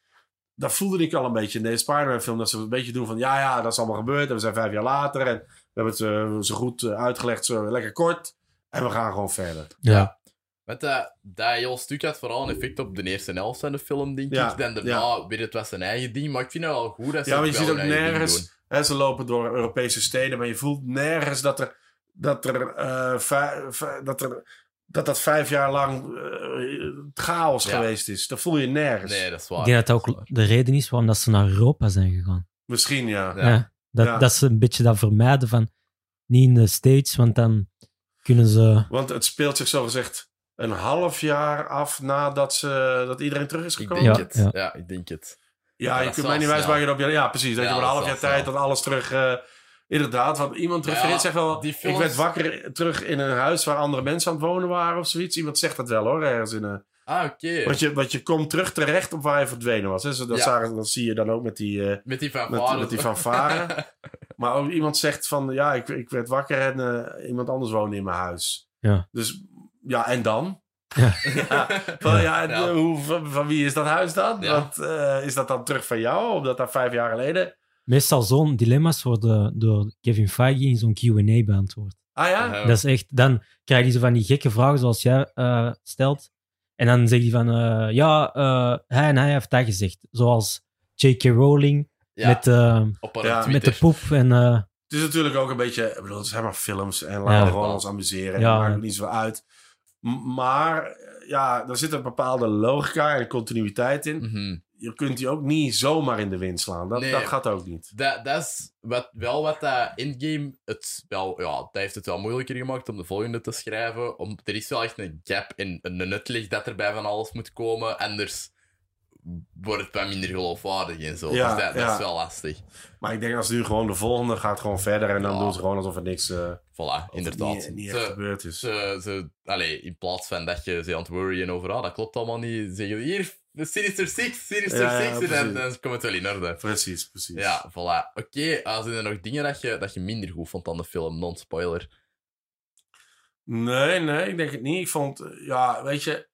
Dat voelde ik al een beetje in deze Spider-Man-film. Dat ze een beetje doen van: ja, ja, dat is allemaal gebeurd. En we zijn vijf jaar later. En we hebben het eh, zo goed eh, uitgelegd, zo lekker kort. En we gaan gewoon verder.
ja.
Want dat, dat heel stuk had vooral een effect op de eerste helft van de film, denk
Ja,
ik. Dan daarna weer het was zijn eigen ding. Maar ik vind het wel goed dat ze
Ja, maar je
het wel
ziet ook
hun eigen ding
nergens.
doen.
Hè, ze lopen door Europese steden, maar je voelt nergens dat er. Dat er, eh, vij- vij- dat, er dat dat vijf jaar lang eh, chaos
Ja.
geweest is. Dat voel je nergens.
Nee, dat is waar.
Ik denk dat dat
is
ook
waar.
de reden is waarom dat ze naar Europa zijn gegaan.
Misschien ja.
Ja.
Ja. Dat,
Ja.
dat ze een beetje dat vermijden van... Niet in de States, want dan kunnen ze...
Want het speelt zich zogezegd een half jaar af nadat ze, dat iedereen terug is
Ik
gekomen.
denk
Ja,
Ja,
het.
ja.
Ja. ik denk het.
je
dat
kunt
zal
mij niet wijs
snel.
maken op... Ja, ja, precies. Dat
Ja,
je op een
dat
half
zal
jaar tijd
snel.
dat alles terug... eh, inderdaad, want iemand
Maar ja,
refereert zegt wel...
die
Ik
films-
werd wakker terug in een huis waar andere mensen aan het wonen waren of zoiets. Iemand zegt dat wel hoor, ergens in eh, een...
Ah, oké.
Want je, want je komt terug terecht op waar je verdwenen was. Hè? Zo, dat,
Ja.
zagen- dat zie je dan ook met die... eh,
Met die
met,
fanfare.
met die fanfare. maar ook iemand zegt van, ja, ik, ik werd wakker en eh, iemand anders woonde in mijn huis.
Ja.
Dus, ja, en dan?
Ja.
Van, ja, en,
Ja.
eh, hoe, van, van wie is dat huis dan?
Ja.
Want, eh, is dat dan terug van jou, omdat dat vijf jaar geleden...
Meestal zo'n dilemma's worden door Kevin Feige in zo'n Q&A beantwoord.
Ah ja?
Ja.
Dat is echt, dan krijgen ze van die gekke vragen zoals jij eh, stelt. En dan zegt hij van, eh, ja, eh, hij en hij heeft dat gezegd. Zoals J.K. Rowling
Ja,
met, eh,
op haar
Ja.
met
Twitter.
de poep. En, eh,
Het is natuurlijk ook een beetje... Ik bedoel, het zijn maar films en laten we gewoon
Ja.
ons amuseren.
Ja.
Ja. Maakt ook niet zo uit. M- maar, eh, ja, er zit een bepaalde logica en continuïteit in.
Mhm.
Je kunt die ook niet zomaar in de wind slaan. Dat,
Nee.
dat gaat ook niet.
Dat, dat is wat, wel wat dat endgame het wel, ja, dat heeft het wel moeilijker gemaakt om de volgende te schrijven. Om, er is wel echt een gap in een uitleg dat er bij van alles moet komen, anders wordt het wat minder geloofwaardig en zo.
Ja,
dus dat, dat
ja.
is wel lastig.
Maar ik denk als nu gewoon de volgende gaat gewoon verder en dan
Ja.
doen ze gewoon alsof er niks eh, alsof
Voilà,
het
inderdaad.
niet, niet echt
ze,
gebeurd is.
ze, ze, allee, in plaats van dat je ze aan het worryen over, ah, dat klopt allemaal niet, zeggen we hier, de Sinister Six, Sinister
Ja, ja,
Six, en dan,
precies.
dan komt het wel in orde.
Precies, precies.
Ja, voilà. Oké, eh, zijn er nog dingen dat je, dat je minder goed vond aan de film? Non-spoiler.
Nee, nee, ik denk het niet. Ik vond, eh, ja, weet je,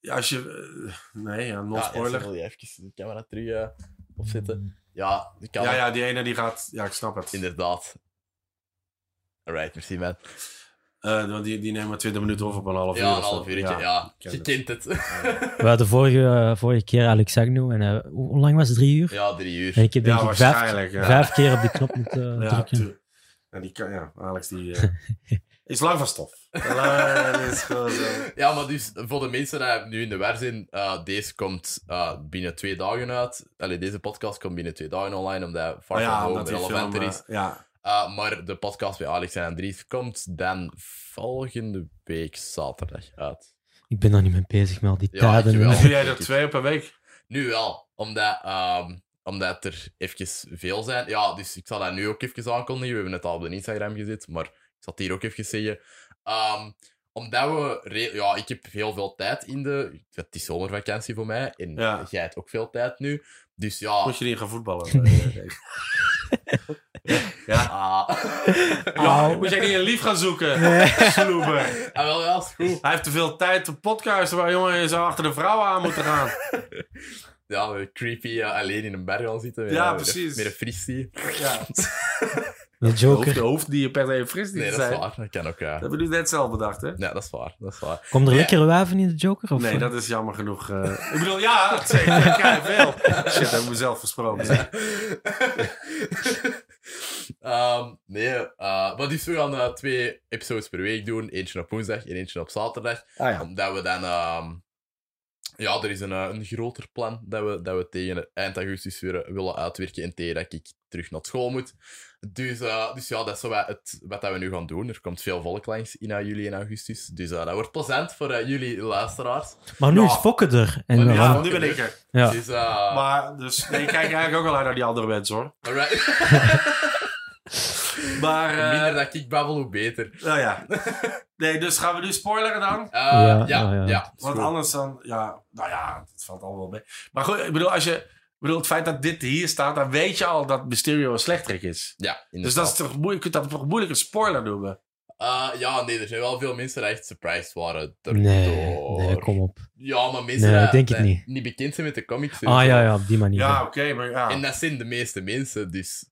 ja, als je, eh, nee, ja,
Ja,
non-spoiler.
Enzo, wil je even de camera terug eh, opzetten? Ja, ik kan
Ja,
het.
ja, die ene die gaat, ja, ik snap het.
Inderdaad. Alright, merci man.
Eh, want die, die neemt maar 20 minuten over op een half uur.
ja, een
of zo.
half uurtje.
ik
Ja,
ken
je
het.
kent het.
we hadden vorige, vorige keer Alexagno. En eh, hoe hoe lang was het? Drie uur?
Ja, drie uur.
En ik heb denk
Ja,
ik vijf,
waarschijnlijk. ja.
vijf keer op die knop moeten eh,
Ja,
drukken.
tuurlijk. ja, die kan, ja, Alex, die eh, is lang van stof. Ja, dat is gewoon zo.
Ja, maar dus voor de mensen die nu in de war zijn, eh, deze komt eh, binnen twee dagen uit. Allee, deze podcast komt binnen twee dagen online, omdat Far
Maar Ah ja,
From Home
omdat die film,
relevanter
eh,
is.
ja,
Eh, maar de podcast bij Alex en Andries komt dan volgende week zaterdag uit.
Ik ben nog niet mee bezig met al die
Ja,
tijden.
dankjewel.
doe jij er twee per week?
Nu wel, omdat, ehm, omdat er eventjes veel zijn. Ja, dus ik zal dat nu ook even aankondigen. We hebben het al op de Instagram gezet, maar ik zal het hier ook even zeggen. Ehm, omdat we... re- Ja, ik heb heel veel tijd in de... Het is zomervakantie voor mij en
Ja.
jij hebt ook veel tijd nu. Dus ja...
Moet je niet gaan voetballen? eh,
ah.
Ja,
Au.
moet jij niet een lief gaan zoeken?
Nee.
Sloeber.
Ah, wel, ja, is goed.
Hij heeft te veel tijd te podcasten waar jongen je zou achter de vrouwen aan moeten gaan.
Ja, we creepy eh, alleen in een berg gaan zitten. met
Ja,
een-
precies.
Met een fristie.
Ja.
De
Hoeft,
Joker.
hoeft die je per se een fris niet
Nee,
te
dat is
zijn. Dat
waar. Dat kan ook... eh.
hebben we nu net zelf bedacht, hè?
Ja, dat is waar. Dat is waar.
Komt er
Ja.
lekkere wijven in de Joker? Of
Nee, dat is jammer genoeg. eh. Ik bedoel, ja, het zeker. Kijk, veel. Shit, heb ik mezelf versproken.
Ah,
zeg.
Ehm, nee, eh, maar dus we gaan eh, twee episodes per week doen. Eentje op woensdag en eentje op zaterdag.
Ah ja.
Omdat we dan... ehm, ja, er is een, eh, een groter plan dat we, dat we tegen het eind augustus weer eh, willen uitwerken. En tegen dat ik terug naar school moet. Dus, eh, dus ja, dat is zo wat, het, wat dat we nu gaan doen. Er komt veel volk langs in eh, juli en augustus. Dus eh, dat wordt plezant voor eh, jullie luisteraars.
Maar nu
Ja.
is Fokke er. En
Maar nu-
Ja,
waarom-
nu ben ik er.
ja.
Dus, eh,
Maar, dus, nee, ik kijk eigenlijk ook al uit naar die andere mensen, hoor.
alright.
Maar,
Hoe minder
eh
dat ik babbel, hoe beter.
nou ja. Nee, dus gaan we nu spoileren dan?
Eh,
Ja,
ja,
ja,
ja,
ja.
is
Want
goed.
anders dan, ja, nou ja, het valt allemaal wel mee. Maar goed, ik bedoel, als je, ik bedoel, het feit dat dit hier staat, dan weet je al dat Mysterio een slechterik is.
Ja,
Dus
inderdaad.
dat is toch moeilijk, je kunt dat toch moeilijk een spoiler noemen.
Eh, ja, nee, er zijn wel veel mensen die echt surprised waren. Daardoor.
Nee, nee, kom op. Ah,
Ja, maar mensen
Nee,
die-
denk het
die
niet.
bekend zijn met de comics. en
Ah
zo.
ja, ja, op die manier.
Ja, oké, maar
En
ja.
dat zijn de meeste mensen, dus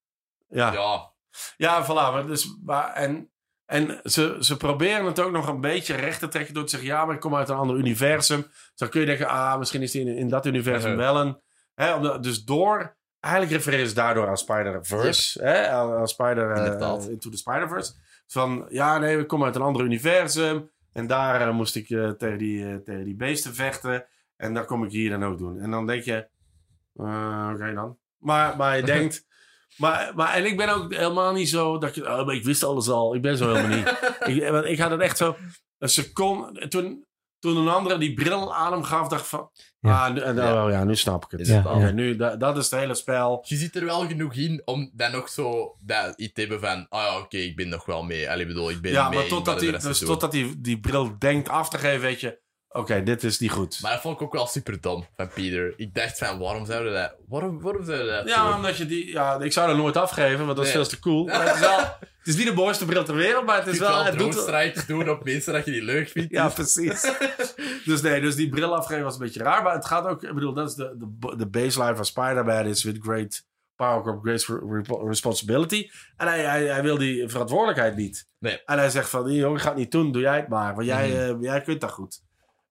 ja.
Ja, ja voilà. Maar dus, maar, en en ze, ze proberen het ook nog een beetje recht te trekken door te zeggen, ja, maar ik kom uit een ander universum. Dus dan kun je denken, ah, misschien is die in, in dat universum
Mhm.
wel een... Hè, omdat- dus door... Eigenlijk refereren ze daardoor aan Spider-Verse. Hè, aan, aan Spider... eh,
Inderdaad.
Into the Spider-Verse. Van, ja, nee, we komen uit een ander universum. En daar eh, moest ik eh, tegen, die, eh, tegen die beesten vechten. En dat kom ik hier dan ook doen. En dan denk je... eh, Oké dan. Maar, maar je denkt... Maar, maar en ik ben ook helemaal niet zo dat ik, oh, maar ik wist alles al. Ik ben zo helemaal niet. ik, want ik had het echt zo. Een seconde. Toen, toen een andere die bril aan hem gaf, dacht ik van.
Ja.
Ah, nu, en,
Ja.
oh ja, nu snap ik het.
Is het
Ja,
al.
oké, nu, da- dat is het hele spel.
Dus Je ziet er wel genoeg in om dan nog zo dat iets te hebben van, ah ja, oké, ik ben nog wel mee. Allee, ik bedoel, ik ben
ja,
mee.
maar
ik ben
totdat,
er de
die,
rest
dus
aan toe.
totdat die, die bril denkt af te geven, weet je. Oké, dit is niet goed.
Maar dat vond ik ook wel super dom van Peter. Ik dacht van, waarom zouden dat... Waarom, waarom zouden dat
ja,
doen?
omdat je die. Ja, ik zou dat nooit afgeven, want dat is
Nee.
veel te cool. Maar het, is wel, het is niet de mooiste bril ter wereld, maar het
Je
is
kunt
wel.
wel
Het doet,
droomstrikes doen op mensen dat je die leuk vindt.
Ja, precies. dus nee, dus die bril afgeven was een beetje raar. Maar het gaat ook, ik bedoel, dat is de, de, de baseline van Spider-Man is with great power comes great re- re- responsibility. En hij, hij, hij wil die verantwoordelijkheid niet.
Nee.
En hij zegt van, "Hier, joh, ik ga het niet doen, doe jij het maar. Want jij,
Mhm.
eh, jij kunt dat goed.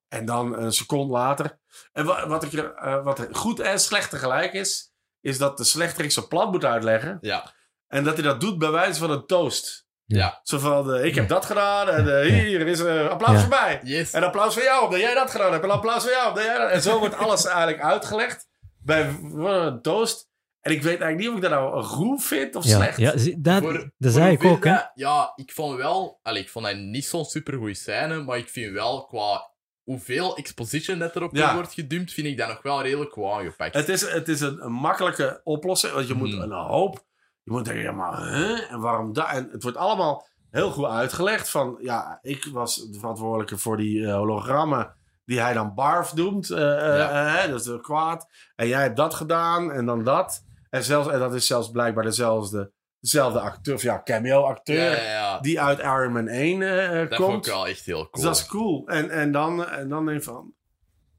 En dan een seconde later. En wa- wat, ik er, eh, wat er goed en slecht tegelijk is, is dat de slechterik zijn plan moet uitleggen.
Ja,
En dat hij dat doet bij wijze van een toast.
Ja.
Zo van, eh, ik heb dat gedaan en eh, hier is een applaus
Ja.
voor mij.
yes.
En applaus voor jou, omdat jij dat gedaan hebt. En applaus voor jou, omdat jij dat... En zo wordt alles eigenlijk uitgelegd bij wat een toast. En ik weet eigenlijk niet of ik dat nou goed vind of
Ja,
slecht.
ja, zie- dat,
Voor-
dat
voor
zei ik
hoeveel
ook, hè.
dat- ja, ik vond wel... Allee, ik vond dat niet zo'n supergoeie scène, maar ik vind wel qua hoeveel exposition dat erop
Ja.
wordt gedumpt, vind ik dat nog wel redelijk qua aangepakt.
Het is, het is een, een makkelijke oplossing, want je moet
Mhm.
een hoop... Je moet denken, ja, maar huh? en waarom dat? En het wordt allemaal heel goed uitgelegd van... Ja, ik was de verantwoordelijke voor die eh, hologrammen die hij dan barf noemt. eh, eh,
Ja.
eh, hè, dat is eh, kwaad. En jij hebt dat gedaan en dan dat. En, zelfs, en dat is zelfs blijkbaar dezelfde, dezelfde acteur, of ja, cameo-acteur...
ja, ja, ja.
die uit Iron Man 1 eh, eh,
Dat vond
komt.
ik wel echt heel
Dus
cool.
dat is cool. En, en, dan, en dan denk ik van...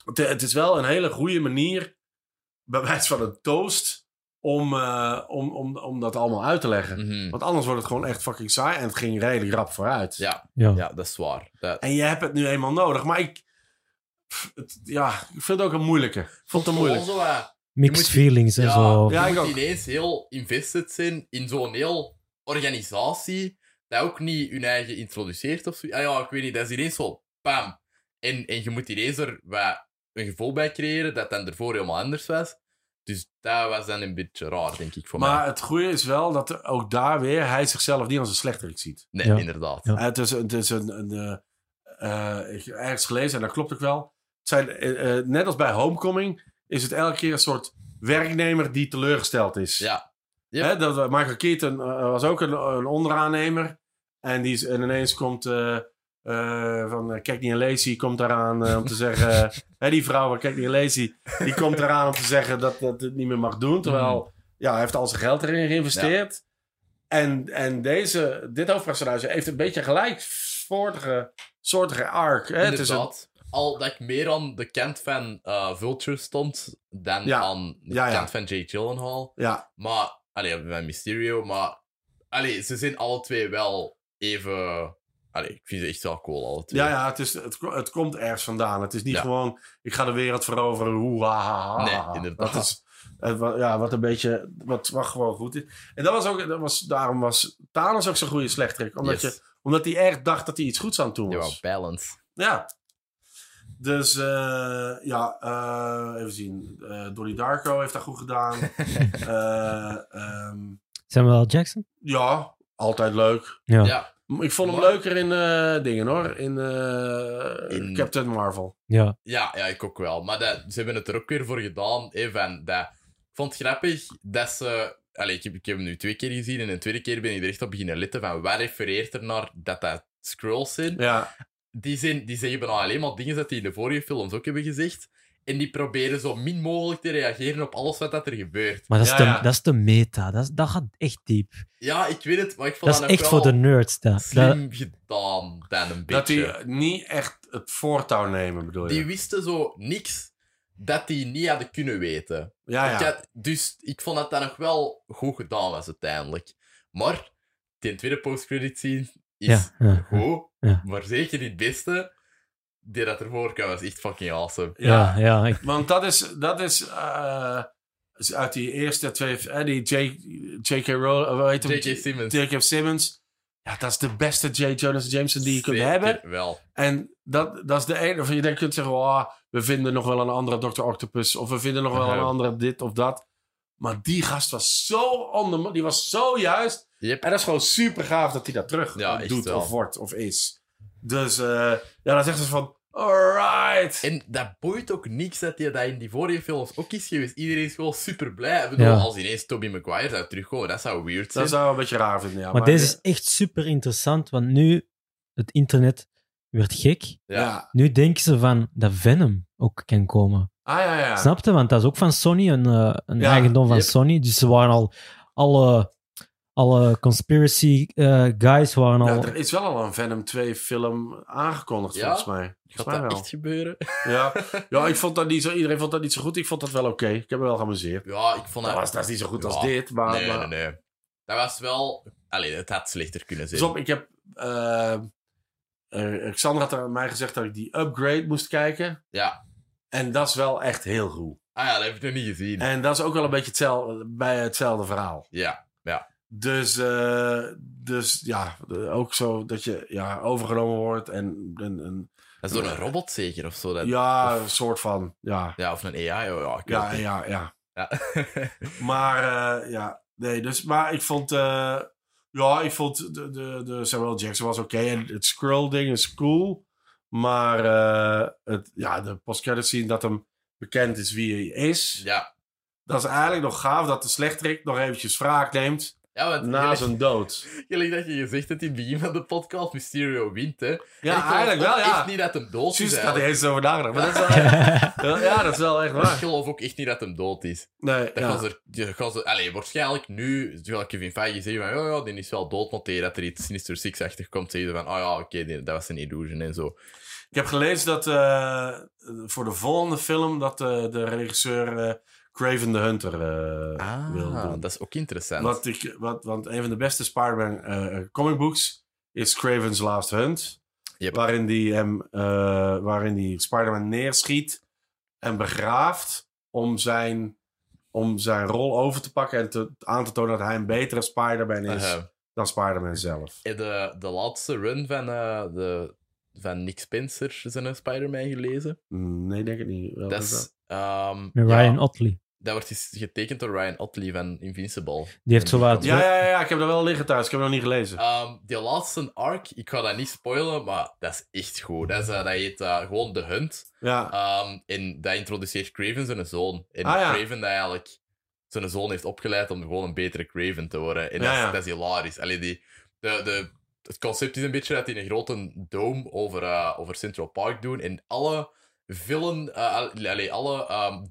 Het, het is wel een hele goede manier, bij wijze van een toast, om, eh, om, om, om dat allemaal uit te leggen.
Mhm.
Want anders wordt het gewoon echt fucking saai en het ging redelijk rap vooruit.
ja,
Ja.
ja, dat is waar. Dat...
En je hebt het nu eenmaal nodig. Maar ik... pff, het- ja, ik vind het ook een moeilijke. Ik vond het een moeilijk.
Gewoon zo, eh,
Mixed
Je moet-
feelings en
ja,
zo.
Ja,
je
ik
moet
ook.
ineens heel invested zijn in zo'n heel organisatie, dat ook niet hun eigen introduceert of zo. Ah ja, ik weet niet, dat is ineens zo, bam. En, en je moet ineens er wat een gevoel bij creëren dat dan ervoor helemaal anders was. Dus dat was dan een beetje raar, denk ik, voor
Maar
mij.
het goede is wel dat er ook daar weer hij zichzelf niet als een slechterik ziet.
Nee,
Ja.
inderdaad.
Ja.
Eh, het is, het is een. een eh, eh, ik heb ergens gelezen, en dat klopt ook wel. Het zijn, eh, eh, net als bij Homecoming is het elke keer een soort werknemer die teleurgesteld is.
Ja. Yep.
Hè, dat, Michael Keaton eh, was ook een, een onderaannemer. En, die, is- en ineens komt eh, eh, van eh, Cagney en Lacey komt eraan eh, om te zeggen... hè, die vrouw van Cagney en Lacey, die komt eraan om te zeggen dat dat het niet meer mag doen. Terwijl ja, hij heeft al zijn geld erin geïnvesteerd. En, en deze, dit hoofdpersonage heeft een beetje gelijk soortige, soortige arc. Hè? Eh, Het is een-
Inderdaad. Al dat ik meer aan de kant van eh, Vulture stond dan
Ja.
aan de
Ja, ja.
kant van Jake Gyllenhaal.
ja,
Maar, allee, met Mysterio, maar... Allee, ze zijn alle twee wel even... Allee, ik vind ze echt wel cool, alle twee.
ja, ja het, is, het, ko- het komt ergens vandaan. Het is niet
Ja.
gewoon, ik ga de wereld veroveren, hoe, ha, ha, ha, ha.
Nee, inderdaad.
Dat is, eh, wa- ja, wat een beetje, wat, wat gewoon goed is. En dat was ook, dat was, daarom was Thanos ook zo'n goede slechterik. Omdat,
Yes.
je, omdat hij echt dacht dat hij iets goeds aan het doen
Ja,
was.
maar balance.
Ja. Dus eh, ja, eh, even zien. Eh Donnie Darko heeft dat goed gedaan. Eh, ehm,
Samuel L. Jackson?
ja, altijd leuk.
Ja. Ja.
Ja,
Ik vond hem
Maar-
leuker in eh, dingen hoor. In, eh,
In-
Captain Marvel.
Ja.
ja, ja, ik ook wel. Maar dat, ze hebben het er ook weer voor gedaan, even. Dat, ik vond het grappig dat ze... Allee, ik heb, ik heb hem nu twee keer gezien en de tweede keer ben ik er echt op beginnen letten van waar refereert er naar dat dat scrolls zijn.
Ja,
die, zijn, die zeggen bijna alleen maar dingen dat die in de vorige films ook hebben gezegd. En die proberen zo min mogelijk te reageren op alles wat dat er gebeurt.
Maar dat is,
Ja,
de,
ja.
dat is de meta. Dat, is- dat gaat echt diep.
Ja, ik weet het, maar ik vond
Dat is
nog
echt
wel
voor de nerds. Dat. Dat-
slim gedaan, dan
dat
een beetje.
hij niet echt het voortouw nemen bedoel je.
Die wisten zo niks dat die niet hadden kunnen weten.
ja, Ah, ja.
Ik had- dus ik vond dat dat nog wel goed gedaan was uiteindelijk. Maar die tweede postcredit scene is
ja, ja.
goed,
Ja.
maar zeker niet het beste. Die dat ervoor kwam was echt fucking awesome.
Ja,
Ja, ja, ik-
Want dat is, dat is, eh, is uit die eerste twee, eh, die J- J.K. Rowling, eh, hoe heet hem?
J.K. Simmons.
J.K. Simmons. Ja, dat is de beste J. Jonas Jameson die je kunt
Zeker
hebben.
wel.
En dat, dat is de enige. Of je denkt, je kunt zeggen, oh, we vinden nog wel een andere Dr. Octopus. Of we vinden nog wel een
Ja.
andere dit of dat. Maar die gast was zo on the mo- Die was zo juist.
Yep.
En dat is gewoon super gaaf dat hij dat terug
Ja, echt
doet
wel.
of wordt of is. Dus eh, ja, dan zegt ze van... Alright.
En dat boeit ook niks dat je dat in die vorige films ook is geweest. Iedereen is gewoon super blij. Ik bedoel,
Ja.
als ineens Tobey Maguire zou terugkomen, dat zou weird zijn.
Dat zou wel een beetje raar vinden, ja.
Maar deze is echt super interessant, want nu het internet werd gek.
Ja. ja.
Nu denken ze van dat Venom ook kan komen.
Ah, ja, ja.
Snapte? Want dat is ook van Sony, een, eh, een
Ja,
eigendom van
yep.
Sony. Dus ze waren al alle, alle conspiracy eh, guys waren
Ja,
al.
er is wel al een Venom 2 film aangekondigd,
Ja?
volgens mij.
Gaat
Volgens mij
dat
wel.
echt gebeuren?
Ja. ja, ik vond dat niet zo... Iedereen vond dat niet zo goed. Ik vond dat wel oké. Ik heb me wel geamuseerd.
Ja, ik vond
Dat was, dat is niet zo goed als
Oh, nou. Ja.
dit, maar...
Nee,
maar-
nee, nee. Dat was wel... Allee, het had slechter kunnen zijn.
Dus op, ik heb... eh eh, Xander had aan mij gezegd dat ik die upgrade moest kijken.
Ja.
En dat is wel echt heel goed.
Ah ja, dat heb ik nog niet gezien.
En dat is ook wel een beetje hetzelfde, bij hetzelfde verhaal.
Ja.
Dus, eh, dus ja, de- ook zo dat je ja, overgenomen wordt en, en, en-
Dat is door een robot zeker of zo. Dat... Ja.
ja,
of-
een soort van, ja,
of een AI. Ja, ik weet
ja,
het niet.
ja, ja.
ja.
Maar eh, ja, nee, dus, maar ik vond, eh, ja, ik vond de, de, de Samuel Jackson was oké en het scroll ding is cool, maar eh, het, ja, de postcredits zien dat hem bekend is wie hij is.
ja.
Dat is eigenlijk nog gaaf dat de slechterik nog eventjes wraak neemt
Ja, want
na
gelijk-
zijn dood.
Gelijk dat je gezegd hebt in het begin van de podcast, Mysterio wint, hè. En ik
Ja,
geloof
eigenlijk
ook
wel, ja.
echt niet dat hem dood is,
Precies, ik had er
eigenlijk.
eens over nagedacht. Maar dat is wel echt, ja, dat is wel echt
Maar ik
waar.
geloof ook echt niet dat hem dood is.
Nee,
Dat
ja.
gaan ze, er- die gaan ze, allee, waarschijnlijk nu, zoals Kevin Feige zei, van, oh ja, die is wel dood, maar tegen dat er iets Sinister Six-achtig komt, zeggen ze van, oh ja, oké, die- dat was een illusion en zo.
Ik heb gelezen dat eh, voor de volgende film dat eh, de regisseur eh, Craven the Hunter eh, wil
Ah,
doen.
dat is ook interessant.
Wat ik, wat, want een van de beste Spider-Man eh, comic books is Craven's Last Hunt.
Yep.
Waarin die hem, eh, waarin die Spider-Man neerschiet en begraaft om zijn, om zijn rol over te pakken en te, aan te tonen dat hij een betere Spider-Man is
Eh,
dan Spider-Man zelf.
in de, de laatste run van, eh, de, van Nick Spencer, zijn eh, Spider-Man gelezen.
Mm, Nee, denk ik niet. Wel,
dat is... ehm,
Met
ja,
Ryan Otley.
dat wordt eens getekend door Ryan Otley van Invincible.
Die heeft zo wat-
Ja, ja, ja, ja, ik heb dat wel liggen thuis. Ik heb het nog niet gelezen.
Ehm, die laatste arc, ik ga dat niet spoilen, maar dat is echt goed. Dat, is, eh, dat heet eh, gewoon The Hunt.
Ja,
Ehm, en dat introduceert Craven zijn zoon. En
Ah, ja.
Craven dat eigenlijk zijn zoon heeft opgeleid om gewoon een betere Craven te worden. En
Ja,
dat, is-
ja.
dat is hilarisch. Allee, die, de, de, het concept is een beetje dat die een grote dome over, eh, over Central Park doen. En alle villain, eh, al- allee, alle ehm,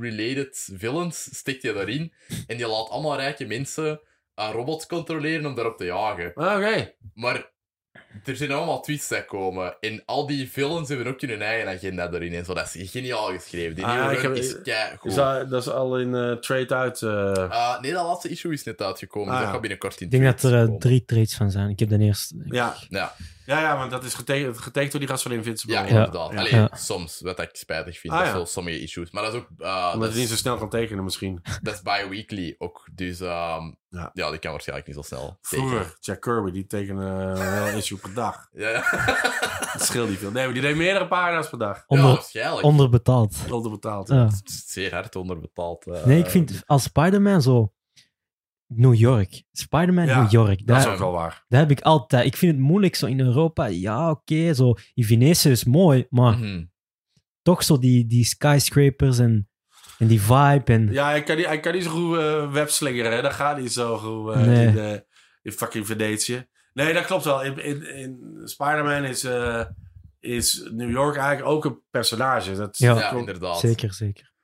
dier-related villains stikt je daarin. En die laat allemaal rijke mensen eh, robots controleren om daarop te jagen.
Ah, oké.
Maar er zijn allemaal tweets die komen. En al die films hebben ook hun eigen agenda erin. En zo, dat is geniaal geschreven. Die
Ah,
nieuwe
ik
run
heb-
is keigoed.
Is dat, dat is al in eh, trade uit. eh.
Eh, nee, dat laatste issue is net uitgekomen.
Ah,
dus
ja.
dat gaat binnenkort in
Ik denk dat er
tweets
eh,
komen.
drie trades van zijn. Ik heb de eerste.
ja.
Ja.
ja, ja, want dat is getekend, getekend door die gast van Invincible.
Ja,
ja.
inderdaad.
Ja.
Allee,
Ja.
soms, wat ik spijtig vind.
Ah,
dat is
ja.
wel sommige issues. Maar dat is ook... eh,
Omdat
dat,
het niet
is,
zo snel kan tekenen, misschien.
dat is bi-weekly ook. Dus ehm,
Ja.
ja. die kan waarschijnlijk niet zo snel tekenen.
Vroeger, Jack Kirby, die tekende eh, een heel issue per dag.
Ja, ja.
Dat scheelt niet veel. Nee, maar die deed meerdere pagina's per dag.
Ja,
Onder,
waarschijnlijk.
onderbetaald.
Onderbetaald.
Ja.
Het is Zeer hard onderbetaald. eh.
Nee, ik vind als Spider-Man zo. New York. Spider-Man
Ja,
New York.
Dat is
Daar,
ook wel waar.
daar heb ik altijd. Ik vind het moeilijk zo in Europa. Ja, oké, zo. In Venetië is mooi, maar
Mm.
Mhm.
toch zo die, die skyscrapers en, en die vibe. En,
Ja, hij kan niet, hij kan niet zo goed eh, webslingeren. Hè? Dat gaat niet zo goed eh,
Nee.
in, eh, in fucking Venetië. Nee, dat klopt wel. In, in, in Spider-Man is, eh, is New York eigenlijk ook een personage. Dat,
Ja.
dat
Ja,
klopt.
inderdaad.
Zeker, zeker.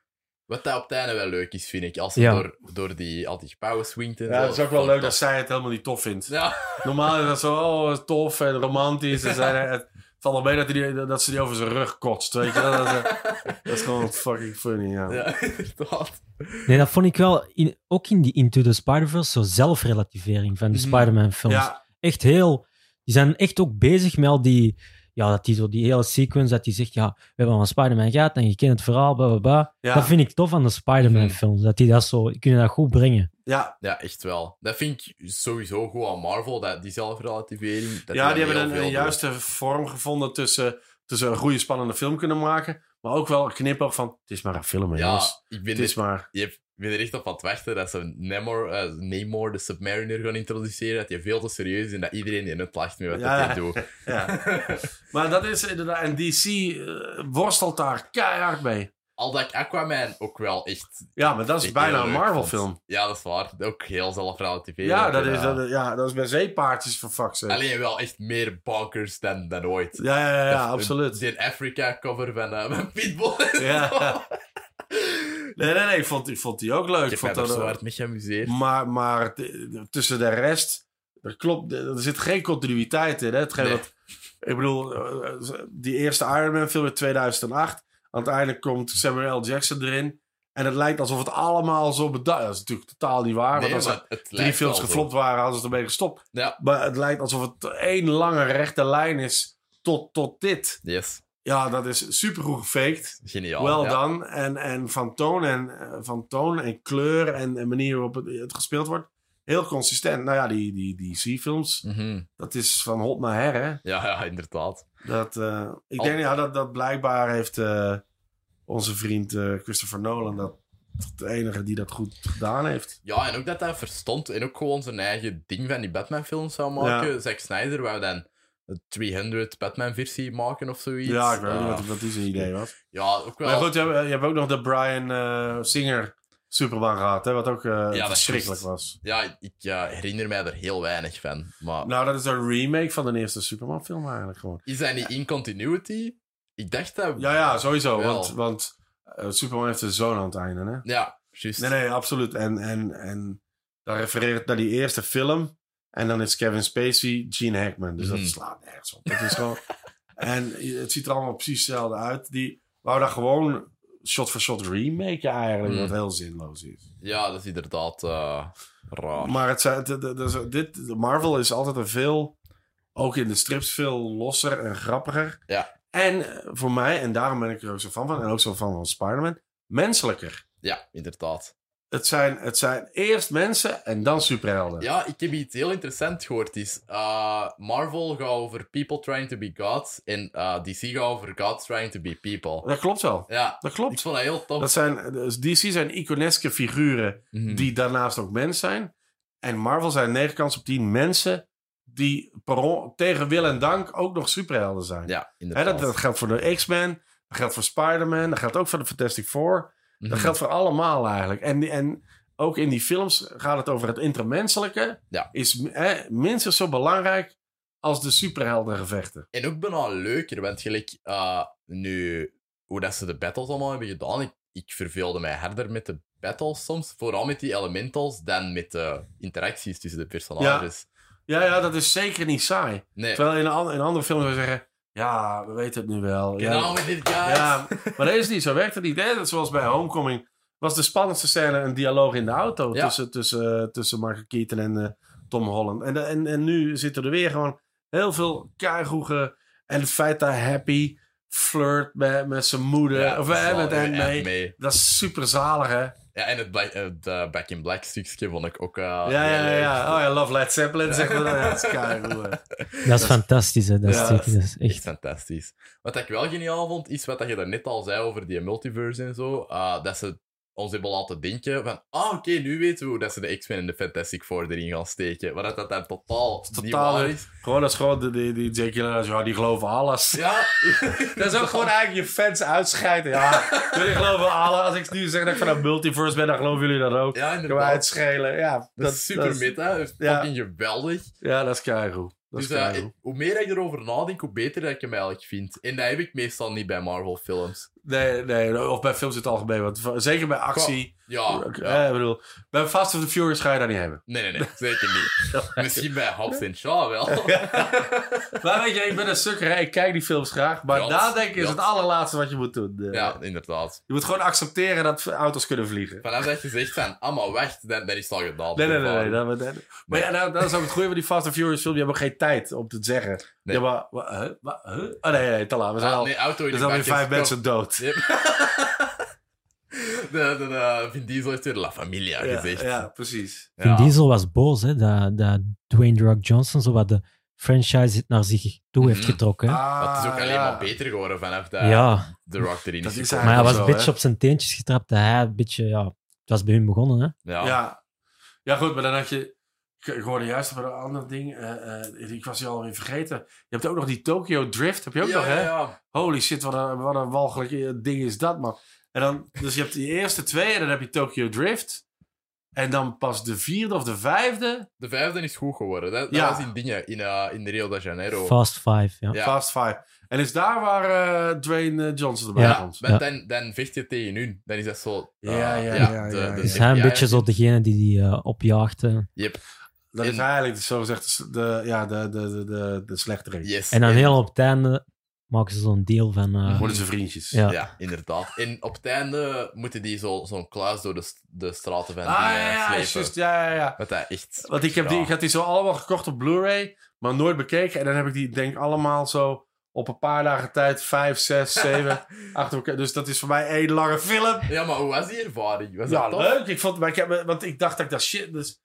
Wat dat op het einde wel leuk is, vind ik. Als hij
Ja.
door, door die, al die gebouwen swingt en
Ja,
zo.
het is ook wel leuk dat
Fantastisch.
zij het helemaal niet tof vindt.
Ja,
Normaal is dat zo oh, tof en romantisch. En zij, het valt wel mee dat, hij die, dat ze die over zijn rug kotst. Weet je? wel. Dat, is, eh, dat is gewoon fucking funny, ja.
ja inderdaad.
Nee, dat vond ik wel in, ook in die Into the Spider-Verse zo zelfrelativering van de
Mhm.
Spider-Man-films.
Mm. Ja,
Echt heel. Die zijn echt ook bezig met al die. Ja, dat die, zo die hele sequence, dat die zegt, ja, we hebben van Spider-Man gehad en je kent het verhaal, bla bla bla.
ja, Mm.
Dat vind ik tof aan de Spider-Man-films, dat die dat zo, die kunnen dat goed brengen.
ja.
Ja, echt wel. Dat vind ik sowieso goed aan Marvel, dat, die zelfrelativering. dat
ja
dat
die
heel
hebben een,
veel
een
doen.
juiste vorm gevonden tussen, tussen een goede, spannende film kunnen maken. Maar ook wel een knipoog van, het is maar een film,
Ja,
jongens.
ik
Het
ben
is
dit,
maar...
je hebt Ik ben er echt op aan het wachten dat ze Namor, eh, Namor de Submariner gaan introduceren. Dat je veel te serieus is en dat iedereen in het lacht met wat
Ja.
dat hij doet.
Ja. maar dat is inderdaad... En DC eh, worstelt daar keihard mee.
Al dat ik Aquaman ook wel echt...
Ja, maar dat is
echt
bijna
heel
een
leuk
Marvel
vond.
film.
Ja, dat is waar. Ook heel zelfrelativerend.
Ja, dat
en,
is,
eh,
dat, ja, dat is bij zeepaardjes voor fuck's sake.
Alleen wel echt meer bonkers dan, dan ooit.
Ja, ja, ja, ja,
Dat-
absoluut.
Die Africa-cover van, eh, van Pitbull.
Ja. Nee, nee, nee, ik vond, ik vond die ook leuk.
Ik heb
vond
me er
dat-
zo hard mee geamuseerd.
Maar, maar t- tussen de rest, er, klopt, er zit geen continuïteit in. Hè? Hetgeen
Nee.
wat- ik bedoel, eh, eh, die eerste Iron Man film in 2008. Aan het einde komt Samuel L. Jackson erin. En het lijkt alsof het allemaal zo bedacht Dat is natuurlijk totaal niet waar. want
Nee,
als
maar
er
het
drie
lijkt
films
wel zo.
geflopt waren, hadden ze ermee gestopt.
Ja.
Maar het lijkt alsof het één lange rechte lijn is tot, tot dit.
Yes,
Ja, dat is supergoed gefaked.
geniaal.
Wel
ja.
dan. En, en van toon en, eh, van toon en kleur en, en manier waarop het, het gespeeld wordt. Heel consistent. Nou ja, die, die, die C-films,
Mhm.
dat is van hot naar her, hè.
Ja, ja, inderdaad.
Dat, eh, ik
Al-
denk ja, dat, dat blijkbaar heeft eh, onze vriend eh, Christopher Nolan... Dat, de enige die dat goed gedaan heeft.
Ja, en ook dat hij verstond en ook gewoon zijn eigen ding van die Batman-films zou maken.
Ja.
Zack Snyder wou dan een 300 Batman-versie maken of zoiets.
Ja, ik weet
Eh,
niet wat, wat die zijn idee was.
Ja, ook wel.
Maar goed, je hebt, je hebt ook nog de Brian eh, Singer Superman gehad, hè, wat ook eh,
dat is
verschrikkelijk
juist.
was.
Ja, ik eh, herinner mij er heel weinig van. Maar
Nou, dat is een remake van de eerste Superman film eigenlijk gewoon.
is hij niet in continuity? Ik dacht dat...
Ja, ja, sowieso.
Wel.
Want, want eh, Superman heeft een zoon aan het einde, hè?
Ja, juist.
Nee, nee, absoluut. En, en, en dat refereert naar die eerste film. En dan is Kevin Spacey Gene Hackman. Dus
Mhm.
dat slaat nergens op. Dat is gewoon... en het ziet er allemaal precies hetzelfde uit. Die wou daar gewoon shot-for-shot remake eigenlijk.
Mhm.
Wat heel zinloos is.
Ja, dat is inderdaad eh, raar.
Maar het, zijn- het, het- het- het- dit, de Marvel is altijd een veel... Ook in de strips veel losser en grappiger.
Ja.
En eh, voor mij, en daarom ben ik er ook zo van van... En ook zo van van Spider-Man. Menselijker.
Ja, inderdaad.
Het zijn, het zijn eerst mensen en dan superhelden.
Ja, ik heb iets heel interessants gehoord. Is, eh, Marvel gaat over people trying to be gods en eh, DC gaat over gods trying to be people.
Dat klopt wel.
Ja,
Dat
ik
klopt.
vond dat heel tof.
Dat zijn, dus DC zijn iconeske figuren
Mhm.
die daarnaast ook mens zijn. En Marvel zijn 9 kans op 10 mensen die per on- tegen wil en dank ook nog superhelden zijn.
Ja,
Hè,
inderdaad.
dat, dat geldt voor de X-Men, dat geldt voor Spider-Man, dat geldt ook voor de Fantastic Four.
Mhm.
Dat geldt voor allemaal eigenlijk. En, die- en ook in die films gaat het over het intermenselijke.
Ja.
Is hè, minstens zo belangrijk als de superheldengevechten.
En ook bijna leuker, want gelijk eh, nu, hoe dat ze de battles allemaal hebben gedaan, ik, ik verveelde mij harder met de battles soms, vooral met die elementals, dan met de interacties tussen de personages.
Ja, ja, dat is zeker niet saai.
Nee,
Terwijl in een, an- in een andere film zou je zeggen... Ja, we weten het nu wel.
get on
Ja,
with it, guys!
ja, maar dat is niet zo. Werkt het niet. Hè? Dat is Zoals bij Homecoming was de spannendste scène een dialoog in de auto...
Ja.
tussen, tussen, eh, tussen Michael Keaton en eh, Tom Holland. En, eh, en, en nu zitten er weer gewoon heel veel keigoege... En het feit dat Happy flirt met, met zijn moeder...
Ja,
of
dat
eh,
is wel
met Aunt
weer
May.
Aunt May.
Dat is super zalig, hè?
Ja, en het Black, het, eh, Back in Black stukje vond ik ook... eh,
ja,
heel
ja, ja,
leuk.
Oh ja, Love Led Zeppelin, zeg maar. Ja, dat is keigoed. hè.
Dat is fantastisch, hè. Dat,
Ja,
stuk, dat is
Echt
echt...
fantastisch. Wat ik wel geniaal vond, is wat je net al zei over die multiverse en zo. eh, dat ze ons hebben laten denken van... Ah, oké, nu weten we hoe dat ze de X-Men en de Fantastic Four erin gaan steken. Maar dat dat dan totaal, niet
totaal
waar
niet.
is.
Gewoon, dat is gewoon die, die, die Jake Gyllenhaal, ja, die geloven alles.
Ja.
Dat is ook gewoon eigenlijk je fans uitscheiden. Ja, jullie geloven alle. Als ik nu zeg dat ik van een multiverse ben, dan geloven jullie dat ook.
ja,
Kunnen we
inderdaad.
uitschelen. Ja,
Dat, is super
dat is-
meta. Dat is
Ja.
fucking geweldig.
Ja, dat is keigoed. Dat is
dus eh,
keigoed.
ik- hoe meer ik erover nadenk, hoe beter dat ik hem eigenlijk vind. En dat heb ik meestal niet bij Marvel-films.
Nee, nee, of bij films in het algemeen. Want v- zeker bij actie.
Ja,
eh,
ah, ja.
ik bedoel, bij Fast of the Furious ga je dat niet hebben.
Nee, nee, nee. Zeker niet. Misschien bij Hobbs en Shaw wel.
Maar weet je, ik ben een sukker. hè. Ik kijk die films graag. Maar
Ja,
nadenken is
ja.
het allerlaatste wat je moet doen. Eh,
Ja, inderdaad.
Je moet gewoon accepteren dat v- auto's kunnen vliegen.
Vanaf dat je zegt van, ah, maar wacht, dan, dan is het al gedaan.
Nee, nee, nee. nee, dat, dat- maar ja, nou, dat is ook het goede van die Fast and Furious film. Je hebt ook geen tijd om te zeggen.
Nee.
Ja, maar... wa- huh? Wa- huh? Oh, nee, nee, te laat. We
Ah,
zijn al...
nee, auto
Er
in de
zijn alweer
bak is
vijf
gekocht.
mensen dood.
Yep. de, de, de Vin Diesel heeft weer La Familia
Ja,
gezegd.
ja, precies.
Ja.
Vin Diesel was boos, hè. Dat, dat Dwayne The Rock Johnson zo wat de franchise naar zich toe heeft
Mhm.
getrokken. hè.
Ah,
Maar het is ook alleen
ja.
maar beter geworden vanaf dat
ja,
The Rock erin
Dat
is
is
gekomen.
maar
eigenlijk
hij was een
zo,
beetje
hè.
op zijn teentjes getrapt. Dat hij een beetje, ja... Het Dat is bij hun begonnen, hè?
Ja.
Ja. ja. goed, maar dan had je... Ik ik hoorde juist over een ander ding. eh, eh, ik was die alweer vergeten. Je hebt ook nog die Tokyo Drift. Heb je ook nog, hè?
ja.
Holy shit, wat een, wat een walgelijk eh, ding is dat, man. En dan, dus je hebt die eerste twee en dan heb je Tokyo Drift. En dan pas de vierde of de vijfde,
De vijfde is goed geworden. Dat, dat
Ja.
was in dingen, in, eh, in Rio de Janeiro.
Fast Five, ja.
Ja.
Fast Five. En is daar waar eh, Dwayne eh, Johnson erbij
Ja.
komt.
Maar
Ja.
Dan, dan vecht je tegen hun. Dan is dat zo... eh,
Ja, ja, ja,
de-
ja,
de-
ja.
Is
de-
Dus hij een
ja,
beetje
ja.
zo degene die die eh, opjaagt? eh?
Yep.
Dat is
En-
eigenlijk zogezegd de, ja, de, de, de, de, de slechterik.
Yes.
En dan heel op het einde maken ze zo'n deal van... eh,
Worden ze vriendjes.
Ja.
Ja, inderdaad. En op het einde moeten die zo- zo'n kluis door de, st- de straten van
Ah,
die,
ja,
eh,
ja,
slepen.
juist, ja, ja, ja.
Wat dat echt...
Want ik, heb die,
Ja.
ik had die zo allemaal gekocht op Blu-ray, maar nooit bekeken. En dan heb ik die, denk ik, allemaal zo op een paar dagen tijd, vijf, zes, zeven, achter elkaar. Dus dat is voor mij één lange film.
Ja, maar hoe was die ervaring? Was
ja,
dat tof?
leuk. Ik vond, maar ik heb, want ik dacht dat ik dat shit. Dus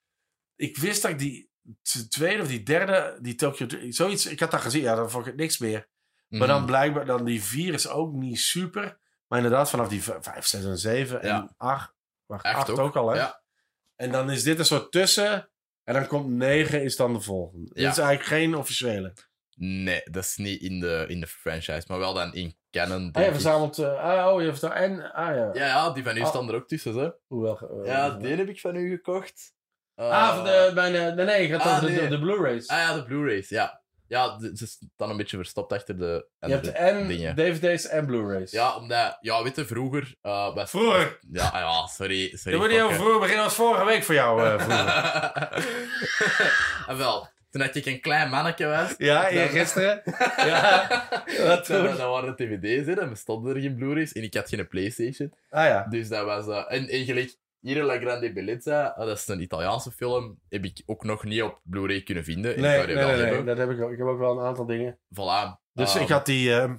ik wist dat ik die t- tweede of die derde, die Tokyo Dr- zoiets. Ik had dat gezien, ja, dan vond ik het niks meer.
Mhm.
Maar dan blijkbaar, dan die vier is ook niet super. Maar inderdaad, vanaf die v- vijf, zes en zeven
Ja.
en acht, wacht,
Echt
acht
ook.
ook. al, hè?
Ja.
En dan is dit een soort tussen. En dan komt negen, is dan de volgende.
Ja.
Dit is eigenlijk geen officiële.
Mm. Nee, dat is niet in de, in de franchise, maar wel dan in canon.
Hij
denk
je
ik.
verzamelt. eh, ah, oh, je hebt daar. En. Ah ja.
Ja, ja, die van u
Ah.
staan er ook tussen, hè?
Hoewel. eh,
Ja, die heb ik van u gekocht. Eh,
Ah, van de, bij de, nee, nee, ik had
Ah,
over de-
nee.
de, de Blu-rays.
Ah ja, de Blu-rays, ja. Ja, de- ze staan een beetje verstopt achter de
Je hebt
andere
en
dingen.
DVD's en Blu-rays.
Ja, omdat... Ja, weet je, vroeger... eh, was-
Vroeger?
Ja, ah ja, sorry. sorry
Dan moet je heel
fucker.
vroeg beginnen als vorige week voor jou. eh, vroeger.
en Ah, wel, toen dat ik een klein mannetje was...
ja,
toen-
eergisteren. ja. Wat
toen-
toen?
Dan waren de dvd's in en bestonden er geen Blu-rays en ik had geen Playstation.
Ah ja.
Dus dat was... eh, en eigenlijk, hier La Grande Bellezza, eh, dat is een Italiaanse film, heb ik ook nog niet op Blu-ray kunnen vinden. Ik
Nee,
zou
nee,
die
nee,
wel
nee,
hebben.
dat heb ik ook. Ik heb ook wel een aantal dingen.
Voilà.
Dus
Ehm,
ik had die... ehm,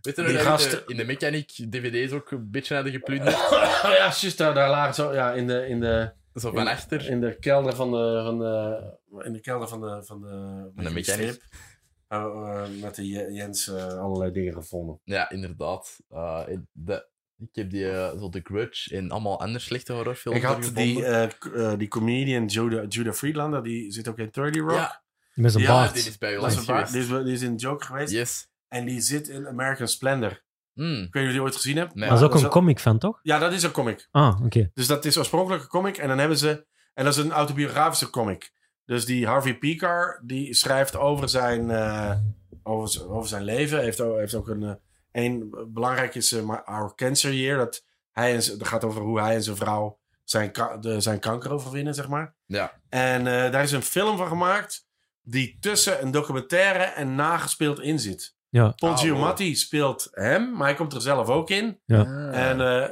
Weet je nog
die
dat
gast-
we de- in de Mechanic DVD's ook een beetje hadden geplunderd?
oh ja, juist daar, daar lagen zo... Ja, in de, in de,
Zo van achter.
in de kelder van de... Van de in de kelder van de... Van de,
Van de
die
mechanic.
strip. Eh, eh, met de Je- Jens eh, allerlei dingen gevonden.
Ja, inderdaad. Eh, ik- de, ik heb die, eh, zo The Grudge en allemaal andere slechte horrorfilms
Ik had
gevonden.
die, eh, k- eh, die comedian Judah, Judah Friedlander, die zit ook in 30 Rock.
Ja,
Met zijn
Ja,
ja,
baard.
die is bij
Dat is een
Jolijn
paar- die, is,
geweest.
wel- die is in Joke geweest.
Yes.
En die zit in American Splendor.
Mm.
Ik weet niet of je die ooit gezien hebt.
Nee.
dat is ook een
wel-
comic van, toch?
Ja, dat is een comic.
Ah, oké.
Dus dat is oorspronkelijk een comic. En dan hebben ze... En dat is een autobiografische comic. Dus die Harvey Pekar, die schrijft over zijn, eh, over, z- over zijn leven. Heeft, o- heeft ook een... eh, één belangrijk is eh, maar Our Cancer Year. Dat, hij en z- dat gaat over hoe hij en zijn vrouw zijn, ka- de, zijn kanker overwinnen, zeg maar.
Ja.
En eh, daar is een film van gemaakt... die tussen een documentaire en nagespeeld in zit.
Ja.
Paul
Ah, wow.
Giamatti speelt hem, maar hij komt er zelf ook in.
Ja.
Ah.
En, eh,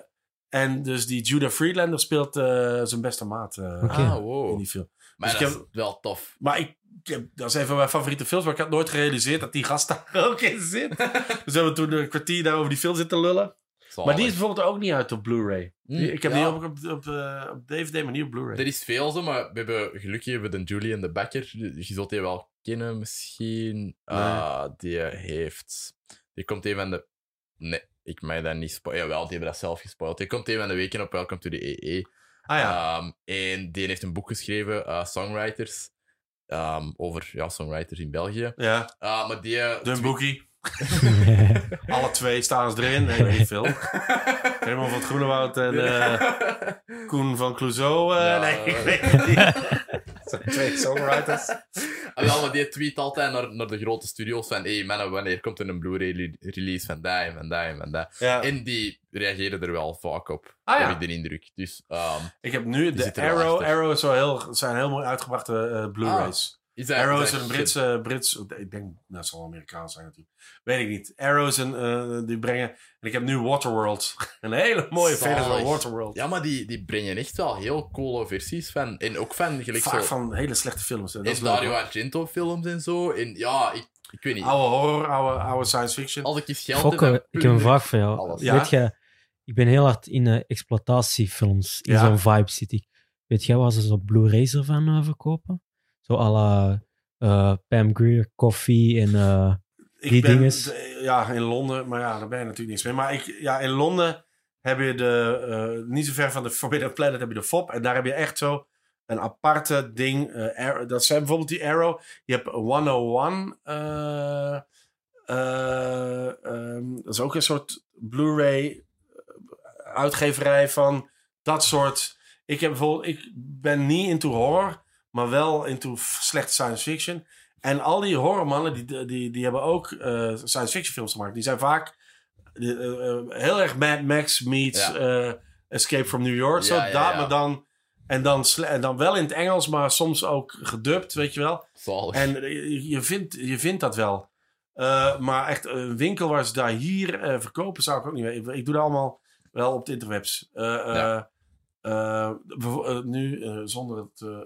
en dus die Judah Friedlander speelt eh, zijn beste maat eh,
Oké.
Ah,
in
wow.
die film.
Maar
Dus ik
dat
heb-
is wel tof.
Maar ik, ik heb- dat is een van mijn favoriete films, maar ik had nooit gerealiseerd dat die gast daar ook in zit. dus we hebben toen een kwartier daar over die film zitten lullen.
Zalig.
Maar die is bijvoorbeeld ook niet uit op Blu-ray.
Mm,
Die- ik heb
Oh, ja.
die ook op, op, eh, op DVD, maar niet op Blu-ray.
Er is veel zo, maar we hebben gelukkig hebben we de Julian de Becker. Je zult die wel kennen misschien. Ah, die heeft. Die komt een van de. Nee, ik mag dat niet spoilen. Jawel, die hebben dat zelf gespoild. Die komt een van de weken op Welcome to the EE.
Ah ja,
Ehm, en die heeft een boek geschreven, eh, Songwriters. ehm, over ja, songwriters in België.
ja.
Ah, maar die. eh,
Dun Boekie.
ja.
Alle twee staan ze erin. Nee, ik weet niet veel. Raymond van het Groenewoud en... eh, Koen van Clouseau. eh,
Ja.
nee, ik weet het niet. Zijn twee songwriters.
Ah, wel, maar die tweet altijd naar, naar de grote studios van hey mannen, wanneer komt er een Blu-ray re- release van die en van die en van die.
Ja.
En die reageren er wel vaak op,
Ah, ja.
heb ik de indruk. Dus ehm,
Ik heb nu
Die
de
zit er wel
Arrow.
achter.
Arrow is wel heel, zijn heel mooi uitgebrachte eh, Blu-rays.
is dat,
Arrow
Ah, dat
is een
shit-
Britse, Brits, ik denk, nou, het zal wel Amerikaans zijn natuurlijk. Weet ik niet. Arrow is een, eh, die brengen, en ik heb nu Waterworld. Een hele mooie
Zalig.
versie van Waterworld.
Ja, maar die, die brengen echt wel heel coole versies van. En ook van gelijk
Vaak
zo.
van hele slechte films. hè. Dat is
En
leuk,
Dario
hoor.
Argento-films en zo. En ja, ik, ik weet niet.
Oude horror, oude, oude science fiction.
Als ik eens geld
Fokke,
heb,
ik heb een
puur-
vraag voor jou.
Alles.
Ja?
Weet jij, ik ben heel hard in eh, exploitatiefilms, in
Ja.
zo'n vibe zit ik. Weet jij waar ze zo Blu-rays ervan eh, verkopen? Zo à la eh, Pam Grier, Coffee en... eh,
ik
Die
ben,
dinges.
d- Ja, in Londen. Maar ja, daar ben je natuurlijk niks mee. Maar ik, ja, in Londen heb je de, eh, niet zo ver van de Forbidden Planet heb je de FOP. En daar heb je echt zo een aparte ding. eh, Arrow- dat zijn bijvoorbeeld die Arrow. Je hebt 101. eh eh, ehm, dat is ook een soort Blu-ray uitgeverij van dat soort. Ik heb bijvoorbeeld, ik ben niet into horror, maar wel into f- slechte science fiction. En al die horrormannen, die, die, die hebben ook eh, science fiction films gemaakt. Die zijn vaak eh, eh, heel erg Mad Max meets
Ja.
eh, Escape from New York. zo,
Ja, ja,
daar,
ja.
Maar dan, en, dan, sle- en dan wel in het Engels, maar soms ook gedubt, weet je wel.
Zalig.
En eh, je- je vindt, je vindt dat wel. Eh, maar echt een winkel waar ze daar hier eh, verkopen zou ik ook niet weten. Ik doe dat allemaal wel op de interwebs. Eh, eh,
Ja.
eh, bevo- eh, nu eh, zonder het... eh,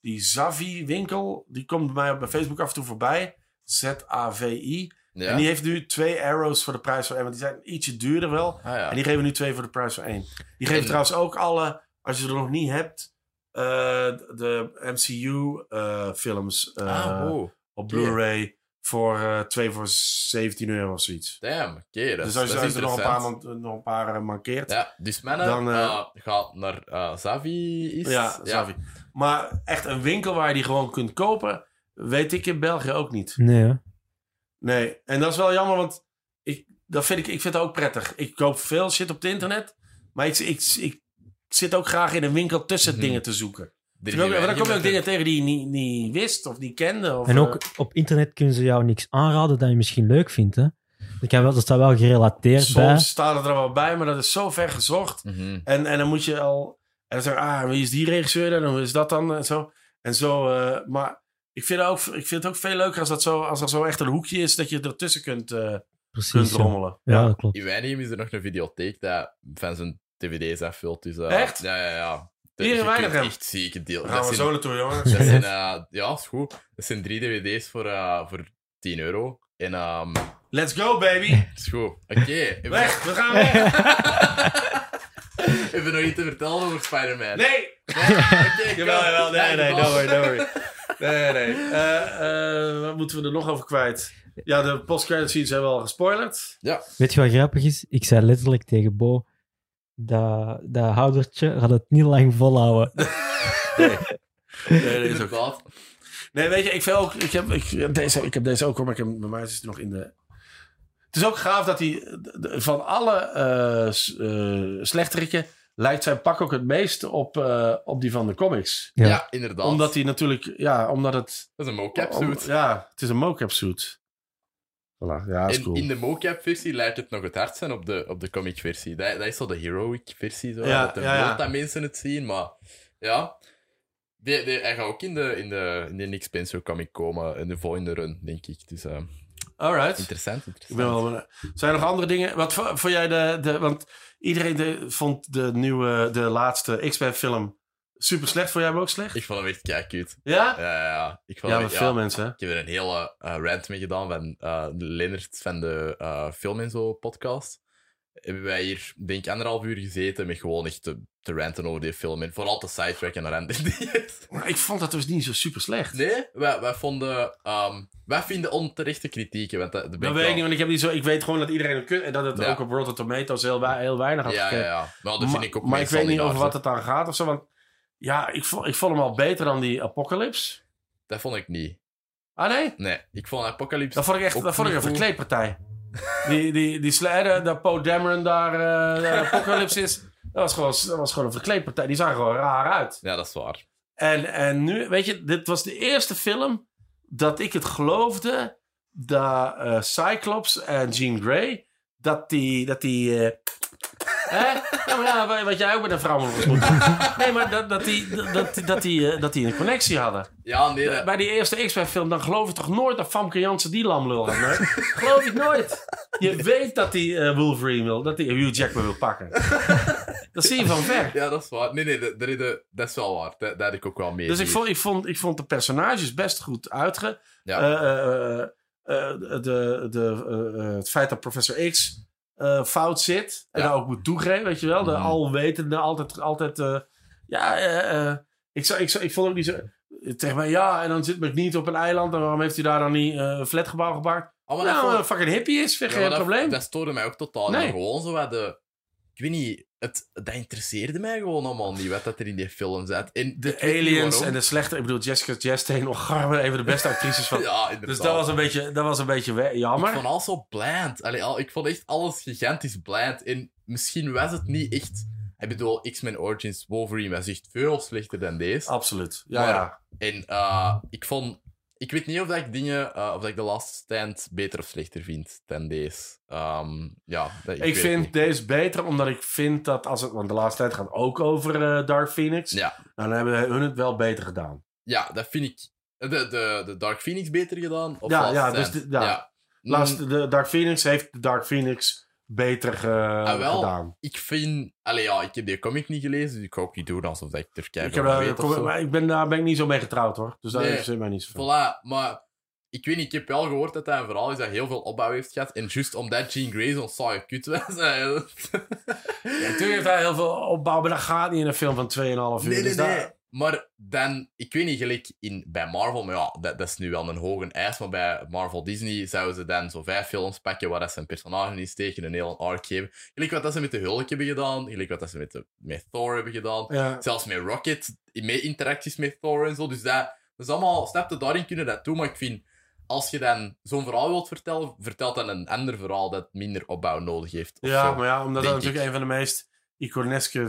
die Zavi-winkel, die komt bij mij op mijn Facebook af en toe voorbij. Z-A-V-I.
ja.
En die heeft nu twee arrows voor de prijs van één. Want die zijn ietsje duurder wel.
ah, ja.
En die geven nu twee voor de prijs van één. Die geven
En-
trouwens ook alle, als je er nog niet hebt, eh, de MCU-films
ah, wow.
eh, op
oké.
Blu-ray voor eh twee voor 17 euro of zoiets.
Damn, oké. dat is-
dus als je
dat is
als je er nog een paar,
interessant.
man- nog een paar eh, mankeert, ja,
Ja, dus mannen
Dan, eh,
eh, gaat naar eh Zavi. Is,
Savi. Maar echt een winkel waar je die gewoon kunt kopen, weet ik in België ook niet.
Nee, hè?
Nee, en dat is wel jammer, want ik, dat vind ik, ik vind dat ook prettig. Ik koop veel shit op het internet, maar ik, ik, ik zit ook graag in een winkel tussen
Mhm.
dingen te zoeken.
Er is
Terwijl-
hier
maar dan kom je ook
weinig
dingen tegen die je niet, niet wist of niet kende. Of,
En
eh,
ook op internet kunnen ze jou niks aanraden dat je misschien leuk vindt. Hè? Dat, kan wel, dat staat wel gerelateerd bij.
soms staan er wel bij, maar dat is zo ver gezocht.
met- Mhm.
En, en dan moet je al. En dan zeg je, ah, wie is die regisseur dan? En Hoe is dat dan? En zo. En zo eh, maar ik vind, ook, ik vind het ook veel leuker als, dat zo, als er zo echt een hoekje is dat je ertussen kunt, eh kunt
Precies. Ja.
rommelen.
ja, dat klopt.
In Wijnheim is er nog een videotheek dat van zijn dvd's afvult. Dus, eh,
Echt?
Ja, ja, ja. Dus
Hier in
je kunt
Weinigem?
Echt zieke deel.
Dan
Dat
gaan we
zijn-
zo naartoe, jongen.
Dat zijn, eh, ja, is goed. Dat zijn drie dvd's voor, eh, voor 10 euro. En ehm
Let's go, baby.
is goed. Oké. Even,
Weg, we gaan weg.
even nog iets te vertellen over Spider-Man.
Nee.
Oké,
Jawel,
kom.
jawel. Nee,
Ja,
nee,
kom.
don't worry, don't worry. Nee, nee. Eh, eh, wat moeten we er nog over kwijt? Ja, de post-credit scenes hebben we al gespoilerd.
Ja,
Weet je wat grappig is? Ik zei letterlijk tegen Bo, dat, dat houdertje gaat het niet lang volhouden.
Nee, dat is ook
inderdaad.
Nee, weet je, ik, vind ook, ik, heb, ik, deze, ik heb deze ook hoor, maar ik heb, bij mij is het nog in de... Het is ook gaaf dat hij d- d- van alle eh s- eh, slechterikken lijkt zijn pak ook het meest op, eh, op die van de comics.
Ja,
Ja.
inderdaad.
Omdat hij natuurlijk, ja, omdat het...
Dat is een mocap suit.
om- ja, het is een mocap suit. Voilà, ja, dat Ah, is
In,
cool.
in de mocap-versie lijkt het nog het hardst zijn op de, op de comic-versie. Dat, dat is zo de heroic-versie, zo,
Ja,
dat, de
ja, ja.
bloot dat mensen het zien, maar ja. Die, die, hij gaat ook in de, in de, in de Nick Spencer comic komen, in de volgende run, denk ik. Dus eh,
Alright.
interessant,
Ik
interessant.
ben wel benieuwd. Zijn er nog andere dingen? Wat vo- vond jij de... de want iedereen de- vond de nieuwe, de laatste X-Men film super slecht. Vond jij hem ook slecht?
Ik vond hem echt kijk cute.
Ja?
Ja, ja, ja. Ik, vond
Ja,
hem
maar
echt-
veel mensen. hè?
ik heb er een hele eh, rant mee gedaan van eh Lennart van de eh, Film en Zo podcast. Hebben wij hier, denk ik, anderhalf uur gezeten met gewoon echt te, te ranten over die film. En vooral te sidetracken naar randen die het-
Maar ik vond dat dus niet zo super slecht.
Nee, wij, wij vonden. ehm, wij vinden onterechte kritieken. Want dat, dat ben
dat
ik
weet ik
wel-
niet, want ik, heb niet zo, ik weet gewoon dat iedereen het kunt en dat het
Ja.
ook op Rotten Tomatoes heel, wei- heel weinig had
Ja, ja,
gekeken.
ja. Maar dat vind
maar
ik ook
maar ik
meestal
weet niet
daar,
over wat
zo.
het dan gaat of zo. Want ja, ik vond, ik vond hem al beter dan die Apocalypse.
Dat vond ik niet.
Ah nee?
Nee, ik vond Apocalypse.
Dat vond ik echt
Ook
dat vond ik een
niet goed.
verkleedpartij. die die, die slijder, dat Poe Dameron daar eh, daar Apocalypse is. Dat was, gewoon, dat was gewoon een verkleedpartij. Die zag gewoon raar uit.
Ja, dat is waar.
En, en nu, weet je, dit was de eerste film dat ik het geloofde dat eh, Cyclops en Jean Grey, dat die, dat die, eh, hè? Ja, maar ja, wa- wat jij ook met een vrouw moet doen. Nee, maar dat, dat, die, dat, dat, die, eh, dat die een connectie hadden.
Ja, nee. dat-
Bij die eerste X-Men film, dan geloof ik toch nooit dat Famke Jansen die lamlul had, nee? Geloof ik nooit. Je weet dat die eh, Wolverine wil, dat die Hugh Jackman wil pakken. Dat zie je van ver.
Ja, dat is waar. Nee, nee, dat, dat, dat- dat is wel waar. Dat, dat had ik ook wel mee.
Dus ik
hier.
vond, ik, vond, ik vond de personages best goed uitge...
Ja.
Eh, eh, eh, eh, de, de, eh, eh, het feit dat professor X eh, fout zit. En
Ja.
daar ook moet toegeven, weet je wel. De
Mhm.
alwetende, altijd... altijd eh, ja, eh, eh, ik, zou, ik, zou, ik vond ook niet zo... Tegen mij, ja, en dan zit McNeat op een eiland... en waarom heeft hij daar dan niet eh, een flatgebouw gebouwd?
Oh, maar dat
nou,
vond-
een fucking hippie is, vind
ja,
ik
maar
geen
dat-
probleem.
Dat stoorde mij ook totaal.
Nee.
Gewoon zo wat de, ik weet niet, het, dat interesseerde mij gewoon allemaal niet wat dat er in die film zat. En
De aliens en de slechte... Ik bedoel, Jessica Chastain, nog garmen, even de beste actrices van...
Ja, inderdaad.
dus dat was een beetje, dat was een beetje we- jammer.
Ik vond alles zo bland. Allee, al, ik vond echt alles gigantisch bland. En misschien was het niet echt... Ik bedoel, X-Men Origins Wolverine was echt veel slechter dan deze.
Absoluut. Ja,
Maar-
ja.
En eh, ik vond... Ik weet niet of dat ik dingen... eh, of dat ik The Last Stand beter of slechter vind dan deze. Ehm, ja, dat-
Ik,
weet het
vind
niet.
deze beter, omdat ik vind dat als het... Want de laatste tijd gaat ook over eh, Dark Phoenix.
Ja, Mm.
Nou, dan hebben hun het wel beter gedaan.
ja, dat vind ik... De, de, de Dark Phoenix beter gedaan? Of
Ja,
Last
ja,
Stand?
dus dit- ja.
Mm,
Laatste, de Dark Phoenix heeft de Dark Phoenix beter eh,
Ah, wel.
gedaan.
Ik vind... Allee, ja, ik heb die comic niet gelezen, dus ik ga ook niet doen alsof ik er
Ik
kijk
heb, daar- kom- maar ik ben, daar ben ik niet zo mee getrouwd hoor. Dus daar
Nee.
heeft ze mij niet zoveel.
Voilà, maar ik weet niet, ik heb wel gehoord dat hij een verhaal is dat heel veel opbouw heeft gehad. En juist omdat Jean Grey zo'n saaie kut was... eh,
Ja, Natuurlijk heeft hij heel veel opbouw, maar dat gaat niet in een film van 2,5 uur.
nee, nee,
dus
nee.
daar-
Maar dan, ik weet niet, gelijk in, bij Marvel, maar ja, dat, dat is nu wel een hoge eis, maar bij Marvel Disney zouden ze dan zo vijf films pakken waar dat ze een personage in steken, een heel arc geven. Gelijk wat dat ze met de Hulk hebben gedaan, gelijk wat dat ze met, de, met Thor hebben gedaan.
ja.
Zelfs met Rocket, met interacties met Thor en zo. Dus dat, dat is allemaal, snap je, daarin kunnen dat doen. Maar ik vind, als je dan zo'n verhaal wilt vertellen, vertelt dan een ander verhaal dat minder opbouw nodig heeft. of
ja,
zo.
maar ja, omdat dat
denk
natuurlijk
ik.
een van de meest iconeske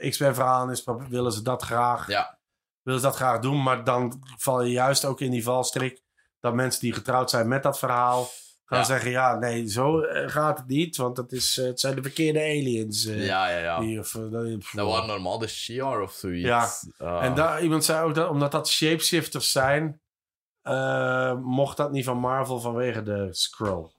eh, X-Men verhalen is, maar willen ze dat graag.
Ja.
Willen ze dat graag doen, maar dan val je juist ook in die valstrik dat mensen die getrouwd zijn met dat verhaal gaan
Ja.
zeggen, ja, nee, zo eh, gaat het niet, want dat is, eh, het zijn de verkeerde aliens. eh,
ja, ja, ja.
die, of, eh, dat-
Dat waren normaal de Shi'ar of zoiets. Ah, Ja.
En daar, iemand zei ook dat omdat dat shapeshifters zijn, eh, mocht dat niet van Marvel vanwege de scroll.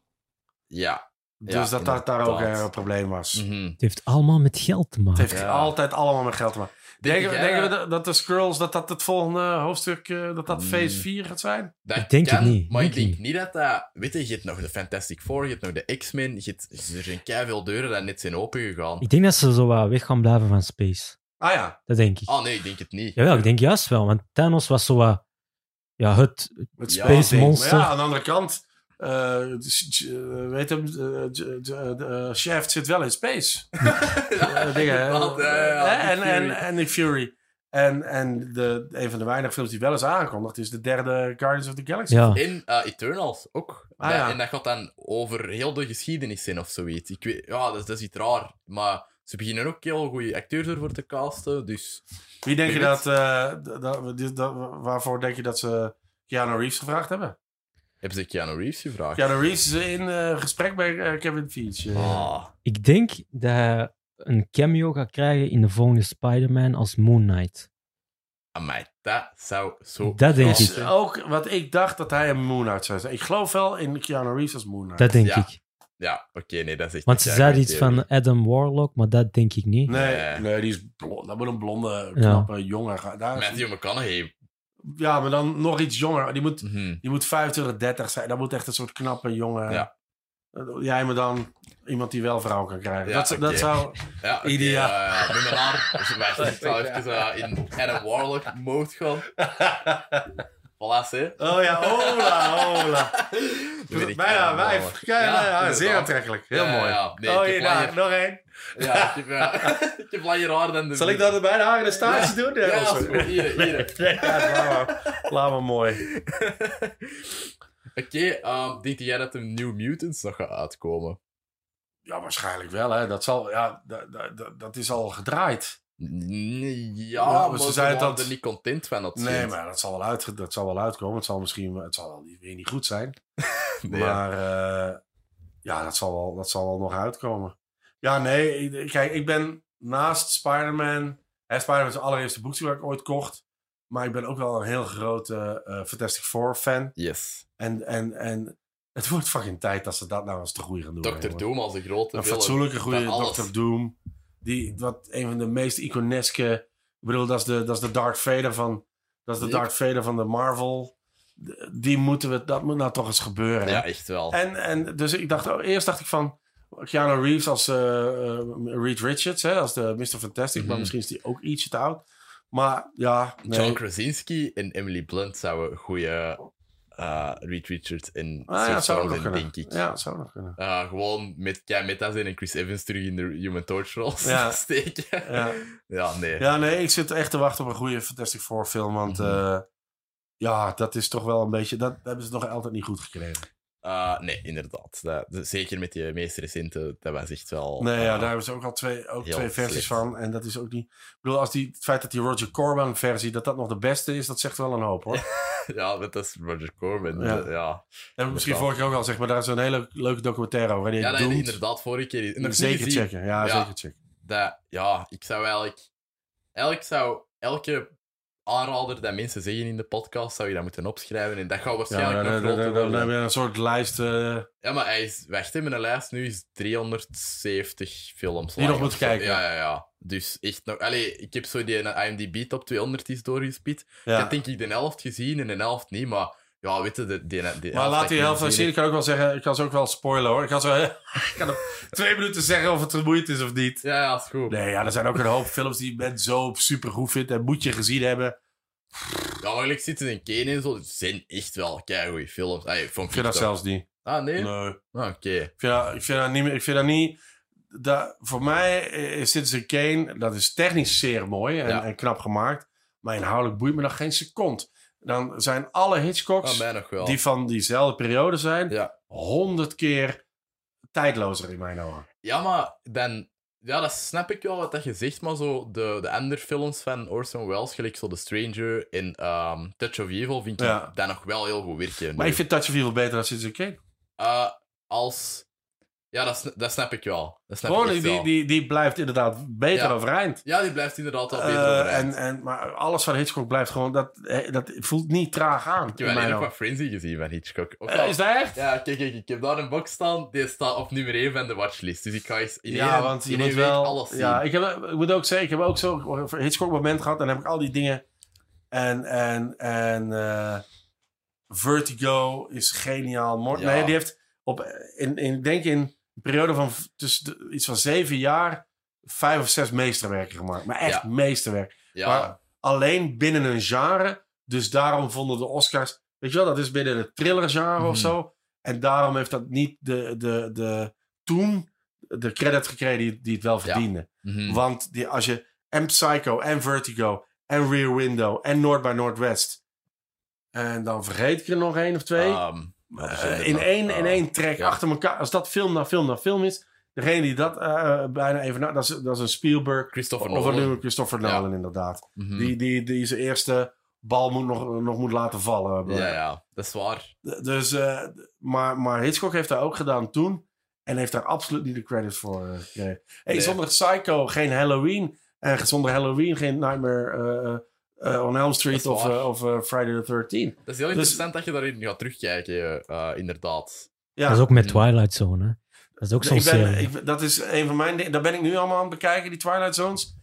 Ja.
Dus
Ja,
dat dat daar ook
inderdaad.
eh, een probleem was.
Mhm.
Het heeft allemaal met geld te maken.
Het heeft
Ja.
altijd allemaal met geld te maken. Denken,
jij
denken we dat, dat de Skrulls, dat dat het volgende hoofdstuk, eh, dat dat
Hmm.
phase 4 gaat zijn?
dat
Ik denk het
kan,
niet,
Maar ik
denk
denk
niet.
niet dat dat... Weet je, je hebt nog de Fantastic Four, je hebt nog de X-Men, je hebt, er zijn veel deuren die net zijn opengegaan.
Ik denk dat ze zo wat weg gaan blijven van space.
Ah ja,
Dat denk ik.
Ah nee, ik denk het niet.
Jawel, ik denk juist wel, want Thanos was zo wat... Ja, het...
het space
Ja.
Space
monster.
monster.
Maar ja, aan de andere kant, eh, j- j- eh, weet hem, eh, j- j- eh, Shaft zit wel in space. Eh, dingen, hè.
inderdaad, ja, ja,
Hè, en, en,
Nick Fury.
en Nick Fury. En, en de, een van de weinige films die wel eens aankondigt is de derde Guardians of the Galaxy.
Ja.
In eh, Eternals ook.
Ah,
Dat-
ja.
En dat gaat dan over heel de geschiedenis zijn of zoiets. Ik weet, ja, dat, is- dat is iets raar. Maar ze beginnen ook heel goede acteurs ervoor te casten. Dus
Wie denk je
Weet het.
dat, eh, dat, dat- dat- waarvoor denk je dat ze Keanu Reeves gevraagd hebben?
hebben ze Keanu Reeves gevraagd.
Keanu Reeves is in eh, gesprek bij eh, Kevin Feige. eh.
Ah,
Ik denk dat hij een cameo gaat krijgen in de volgende Spider-Man als Moon Knight.
amai, dat zou zo...
Dat denk
raar
ik.
Is
zijn.
ook wat ik dacht dat hij een Moon Knight zou zijn. Ik geloof wel in Keanu Reeves als Moon Knight.
Dat denk
Ja.
ik.
Ja, oké, nee, dat is echt...
Want ze
een
zeiden
keigoed
iets
theorie.
van Adam Warlock, maar dat denk ik niet.
Nee,
Nee.
nee, die is blond. Dat moet een blonde,
Ja.
knappe jongen gaan. Daar is-
Matthew McConaughey.
Ja, maar dan nog iets jonger. Die moet,
Mhm.
die moet 25, 30 zijn. Dat moet echt een soort knappe jongen.
Ja.
Eh, Jij me dan iemand die wel vrouw kan krijgen.
Ja,
dat, zou- dat
oké.
zou...
Ja, oké,
Ideaal.
ja, ja, doe maar naar. Dus wij- Ik zal even eh, in Adam Warlock mode gaan. Voilà, hè.
Oh ja, hola, hola.
weet ik
Bijna
wel,
wijf.
hoor.
Ja, ja, ja,
inderdaad.
zeer aantrekkelijk. Heel
Ja,
mooi.
ja. Nee,
oh,
ik heb
hier, daar,
langer-
nog één.
Ja, ik heb, eh, ik heb langer haar dan de...
Zal ik dat bij de haar in de staartjes doen?
Ja,
of zo.
is goed. Hier, hier.
Nee, ja, laat maar. Laat maar mooi.
Oké, ehm denk jij dat de New Mutants nog gaat uitkomen?
Ja, waarschijnlijk wel. Hè. Dat, zal, ja, da- da- da- dat is al gedraaid.
N-
Ja,
Ja,
maar
maar
ze
ze
zei
zijn
dat-
er niet content van, dat
Nee, maar dat zal wel, uit, dat zal wel uitkomen. Het zal misschien het zal wel niet- weer niet goed zijn. Maar eh, ja, dat zal, wel, dat zal wel nog uitkomen. Ja, nee. ik- Kijk, ik ben naast Spider-Man... Hè, Spider-Man is het allereerste boekje dat ik ooit kocht. Maar ik ben ook wel een heel grote eh, Fantastic Four fan.
Yes.
En, en, en het wordt fucking tijd dat ze dat nou eens te groeien gaan doen. hè,
Dr.
jongen.
Doom als een grote
Een
villain.
fatsoenlijke goede
van alles.
Dr. Doom. Die, wat een van de meest iconeske. Ik bedoel, dat is de, dat is de Darth Vader van. Dat is de
Yep.
Darth Vader van de Marvel. D- Die moeten we. Dat moet nou toch eens gebeuren. hè?
Ja, echt wel.
En, en dus ik dacht. oh, eerst dacht ik van. Keanu Reeves als eh, eh, Reed Richards, hè, als de Mr. Fantastic. Maar
Mhm.
misschien is die ook ietsje te oud. Maar ja, nee.
John Krasinski en Emily Blunt zouden goede eh, Reed Richards en
Ah, ja,
Seth
dat zou ook nog
Rogen,
kunnen.
denk ik.
Ja, dat zou nog kunnen.
Eh, gewoon met Kai Meta zijn en Chris Evans terug in de Human Torch roles
Ja.
steken.
Ja.
Ja, nee.
Ja, nee, ik zit echt te wachten op een goede Fantastic Four film. Want
Mhm.
eh, ja, dat is toch wel een beetje... Dat hebben ze nog altijd niet goed gekregen.
Eh, nee, inderdaad. Dat, dat- zeker met die meest recente, dat was echt wel...
Nee, ja,
eh,
daar hebben ze ook al twee, ook
heel
twee versies
slecht.
van. En dat is ook niet... Ik bedoel, als die, het feit dat die Roger Corman versie... dat dat nog de beste is, dat zegt wel een hoop, hoor.
Ja, want dat is Roger Corbin.
Ja.
Ja, ja.
En misschien
Inderdaad.
vorige keer ook al gezegd, maar daar is een hele leuke documentaire over. En die
ja
heet
dat heb ik
Doomed.
inderdaad vorige keer... Nog niet
Zeker
gezien.
checken. Ja,
Ja.
zeker checken.
dat, ja, ik zou eigenlijk... Eigenlijk zou elke aanrader dat mensen zeggen in de podcast, zou je dat moeten opschrijven. En dat gaat
Ja,
waarschijnlijk
dan, dan,
nog groter
dan, dan
worden.
heb je een soort lijst eh,
Ja, maar hij is... Wacht, hè, mijn lijst nu is 370 films
Die
lang
nog
of
moet
zo.
kijken.
Ja, ja, ja. Dus echt nog... Allee, ik heb zo die eh, IMDb top 200 is doorgespit. Ik
ja.
heb denk ik de helft gezien en de helft niet, maar... Ja, weet je, de, die, die helft
Maar
dat ik
laat die
niet
helft van
gezien
zien. Ik kan ook wel zeggen, ik kan ze ook wel spoilen hoor. Ik kan zo ik kan op twee minuten zeggen of het vermoeid is of niet.
heb. Ja, ja, is goed.
Nee, ja, er zijn ook een hoop films die men zo super goed vindt en moet je gezien hebben.
Ja, maar gelijk zitten in Kane en zo, dat zijn echt wel keigoede films. Allee, vond
Ik vind dat
toch.
zelfs niet.
Ah, nee?
Nee.
Ah, Oké.
Ik vind dat, ik vind dat niet. meer- Ik vind dat niet dat, voor mij is Citizen Kane, dat is technisch zeer mooi en,
Ja.
en knap gemaakt. Maar inhoudelijk boeit me nog geen second. Dan zijn alle
Ah,
Hitchcocks,
mij nog wel.
die van diezelfde periode zijn,
Ja.
honderd keer tijdlozer in mijn ogen.
Ja, maar dan... Ja, dat snap ik wel wat dat je zegt, maar zo de, de andere films van Orson Welles, gelijk zo The Stranger en ehm, Touch of Evil, vind ik
Ja.
dat nog wel heel goed werken.
Maar
nu.
ik vind Touch of Evil beter dan Citizen Kane.
Eh, als... Ja, dat, sn- dat snap ik wel. Dat snap
Gewoon,
ik echt
die, die,
wel.
die, die blijft inderdaad beter
Ja.
overeind.
Ja, die blijft inderdaad al beter
Eh,
overeind.
en, en, maar alles van Hitchcock blijft gewoon... Dat, eh, dat voelt niet traag aan.
Ik heb
in
alleen
mijn
nog
ogen.
wat Frenzy gezien van Hitchcock. Ook
Eh,
al-
is dat echt?
Ja, kijk, kijk, ik heb daar een box staan. Die staat op nummer 1 van de watchlist. Dus ik ga eens in
ja,
één-
want je
in
moet
één week
wel...
alles zien.
ja, ik, heb, ik moet ook zeggen, ik heb ook zo'n Hitchcock moment gehad. En dan heb ik al die dingen... En, en, en eh, Vertigo is geniaal. Mor-
Ja.
Nee, die heeft op, in, in, ik denk in een periode van v- tussen de- iets van zeven jaar... vijf of zes meesterwerken gemaakt. Maar echt
Ja.
meesterwerk.
ja.
Maar alleen binnen een genre. Dus daarom vonden de Oscars. Weet je wel, dat is binnen het thrillergenre
Mhm.
of zo. En daarom heeft dat niet de, de, de, toen de credit gekregen die, die het wel verdiende.
Mhm.
Want die, als je en Psycho en Vertigo en Rear Window en Noord bij Noordwest. En dan vergeet ik er nog één of twee.
Ehm, wat is
Eh,
er
in,
nog?
één, in
Eh,
één track
ja.
achter elkaar. Als dat film na film na film is. Degene die dat eh, bijna even... na- Dat is, dat is een Spielberg.
Christopher
of
Nolan.
een Christopher
Ja.
Nolan inderdaad.
Mhm.
Die, die, die zijn eerste bal moet nog, nog moet laten vallen.
Ja, ja, dat is waar.
D- Dus, eh, d- maar, maar Hitchcock heeft dat ook gedaan toen. En heeft daar absoluut niet de credit voor eh, gekregen. Hey,
Nee.
Zonder Psycho geen Halloween. En zonder Halloween geen Nightmare eh, eh, on Elm Street
Dat is
of,
waar.
eh, of eh, Friday the 13th.
Dat is heel
Dus-
interessant dat je daarin gaat terugkijken, eh, inderdaad.
Ja,
Dat is ook met
Mm.
Twilight Zone, hè. Dat is ook zo'n
ik ben,
serie.
ik- dat is een van mijn dingen. Daar ben ik nu allemaal aan het bekijken, die Twilight Zones.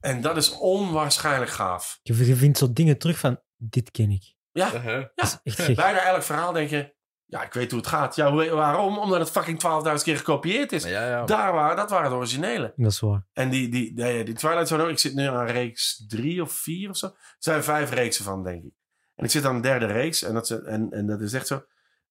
En dat is onwaarschijnlijk gaaf.
Je je vindt zo dingen terug van, dit ken ik.
Uh-huh.
Dat is echt gek.
Bijna elk verhaal denk je... Ja, ik weet hoe het gaat. Ja, hoe- waarom? Omdat het fucking 12.000 keer gekopieerd is.
Ja, ja.
Dus Daar waren, dat waren de originele.
Dat is waar.
En die, die, die, die Twilight Zone, ook. ik zit nu aan reeks drie of vier of zo. Er zijn vijf reeksen van, denk ik. En ik zit aan de derde reeks en dat, ze, en, en dat is echt zo.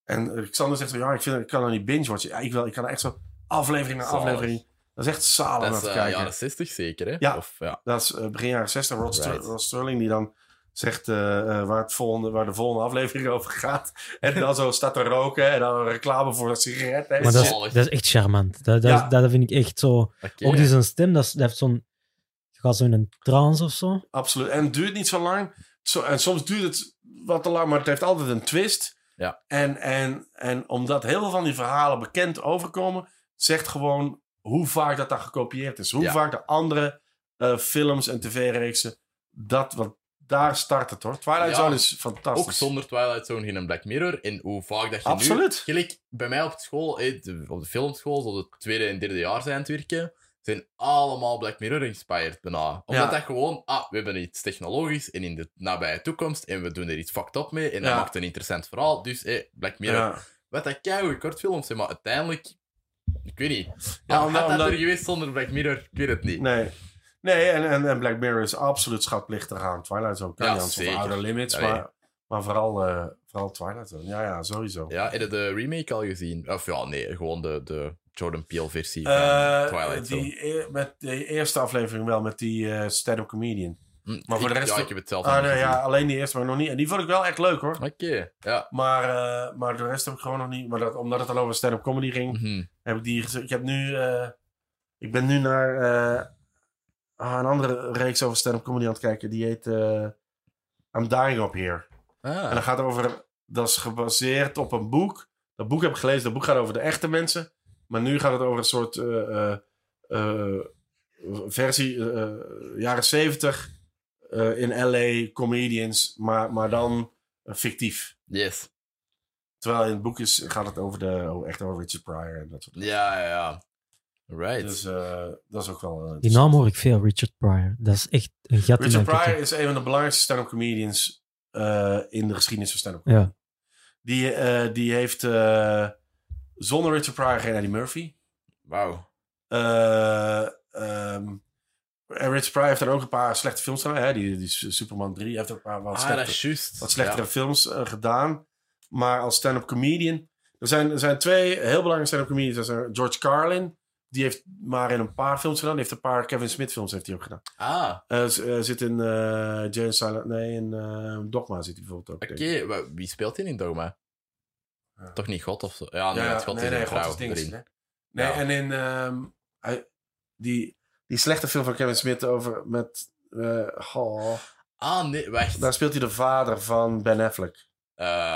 En eh, Xander zegt zo, ja, ik, vind, ik kan er niet binge-watchen. Ja, ik, wel, ik kan er echt zo aflevering na
Zalig.
aflevering. Dat is echt zalig om
Dat
naar
is
te
eh,
kijken.
jaren 60 zeker, hè?
Ja.
Of, ja.
Dat is eh, begin jaren 60, Rod, Ster-
Right.
Rod Sterling, die dan zegt eh, eh, waar, het volgende, waar de volgende aflevering over gaat. En dan zo staat te roken en dan een reclame voor een sigaret. en
Maar dat is,
shit.
zalig.
dat is echt charmant. Dat, dat,
Ja.
dat vind ik echt zo...
Oké.
Ook die zijn stem, dat, is- dat heeft zo'n... Je gaat zo in een trance of zo.
Absoluut. En het duurt niet zo lang. Zo, en soms duurt het wat te lang, maar het heeft altijd een twist.
Ja.
En, en, en omdat heel veel van die verhalen bekend overkomen, zegt gewoon hoe vaak dat daar gekopieerd is. Hoe
Ja.
vaak de andere eh, films en tv-reeksen dat, want daar start het hoor. Twilight
Ja.
Zone is
Ook
fantastisch.
zonder Twilight Zone geen Black Mirror. En hoe vaak dat je
Absoluut.
nu... Gelijk, bij mij op school, eh, de- op de filmschool, zo het tweede en derde jaar zijn aan het werken, zijn allemaal Black Mirror inspired bijna. Omdat
Ja.
dat gewoon, ah, we hebben iets technologisch en in de nabije toekomst en we doen er iets fucked up mee en dat
Ja.
maakt een interessant verhaal. Dus, eh, Black Mirror.
Ja.
Wat dat keigoed kortfilms zijn, maar uiteindelijk... Ik weet niet.
Ja,
Ja,
omdat-
had dat
omdat-
er geweest zonder Black Mirror? Ik weet het niet.
Nee. Nee, en, en, en Black Mirror is absoluut schatplichtig aan Twilight Zone. Kan
Ja,
niet anders, of
zeker.
Outer Limits,
Allee.
maar Maar vooral, eh, vooral Twilight Zone. Ja, ja, sowieso.
Ja, heb je de remake al gezien? Of ja, nee, gewoon de, de Jordan Peele-versie van
Eh,
Twilight Zone.
die, e- met de eerste aflevering wel, met die eh, stand-up comedian.
Hm,
maar voor
ik-
de rest-
Ja, ik heb het zelf
Ah,
nog
nee,
niet gezien.
ja, alleen die eerste, maar nog niet. En die vond ik wel echt leuk, hoor.
Oké, ja.
Maar, eh, maar de rest heb ik gewoon nog niet. Maar dat, omdat het al over stand-up comedy ging,
Mhm.
heb ik die gezien. Ik heb nu... eh, ik ben nu naar eh, ah, een andere reeks over stand-up comedy aan het kijken. Die heet eh, I'm Dying Up Here. En
Ah,
dat gaat over. Dat is gebaseerd op een boek. Dat boek heb ik gelezen. Dat boek gaat over de echte mensen. Maar nu gaat het over een soort. eh, eh, eh, versie. eh, jaren zeventig. eh, in LA comedians. Maar, maar dan eh, fictief.
yes.
Terwijl in het boek is, gaat het over de, oh, echt over Richard Pryor en dat soort
Ja, ja, ja. Right.
Dus eh, dat is ook wel. eh,
Die naam hoor ik veel, Richard Pryor. Dat is echt een gat in
Richard
mijn
Pryor
kop.
is een van de belangrijkste stand-up comedians eh, in de geschiedenis van stand-up
Ja.
Die, eh, die heeft eh, zonder Richard Pryor geen Eddie Murphy.
Wauw.
Eh, ehm, en Richard Pryor heeft er ook een paar slechte films gedaan. Hè? Die, die Superman 3 heeft er een paar wat,
Ah, dat
slechte,
is juist.
wat slechtere films eh, gedaan. Maar als stand-up comedian... Er zijn, er zijn twee heel belangrijke stand-up comedians. Dat zijn George Carlin. Die heeft maar in een paar films gedaan. Die heeft een paar Kevin Smith films heeft hij ook gedaan.
Ja. Ah,
Eh, z- eh, zit in eh Jane Silent... Nee, in eh, Dogma zit hij bijvoorbeeld ook.
oké.
denk ik.
Wa- Wie speelt hier in Dogma?
Ja.
Toch niet God of zo? Ja, nee,
Ja,
het God
nee,
is
nee,
een
God
vrouw.
is ding.
erin.
hè? Nee,
Ja.
en in ehm, hij- die, die slechte film van Kevin Smith over met. eh, goh,
Ah, nee, wacht. Ehm,
daar speelt hij de vader van Ben Affleck.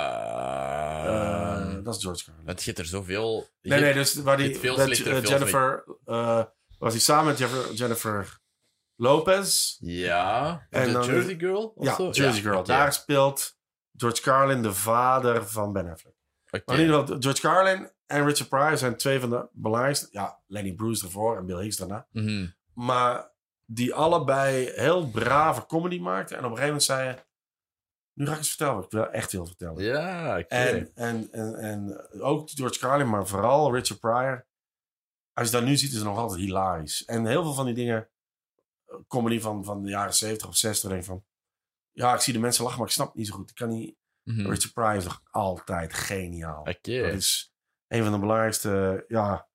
Eh,
Eh, dat is George Carlin.
Want je hebt er zoveel... je
Nee, nee,
hebt-
dus waar
je
die
hebt veel
met,
slechtere
eh,
films
Jennifer eh, was hij samen met Jennifer, Jennifer Lopez.
Ja. Of
En
de
dan-
Jersey Girl of
ja,
zo?
Jersey Girl.
oké.
Daar speelt George Carlin de vader van Ben Affleck.
Oké.
Maar in ieder geval, George Carlin en Richard Pryor zijn twee van de belangrijkste. Ja, Lenny Bruce ervoor en Bill Hicks daarna.
Mhm.
Maar die allebei heel brave comedy maakten. En op een gegeven moment zei je... Nu ga ik eens vertellen wat ik wel echt wil vertellen.
Ja, oké.
En, en, en, en ook George Carlin, maar vooral Richard Pryor. Als je dat nu ziet, is het nog altijd hilarisch. En heel veel van die dingen... eh, Comedy van, van de jaren 70 of 60. Denk ik van... Ja, ik zie de mensen lachen, maar ik snap het niet zo goed. Ik kan niet...
Mhm. Oké.
Richard Pryor is nog altijd geniaal. Dat is een van de belangrijkste... Ja, een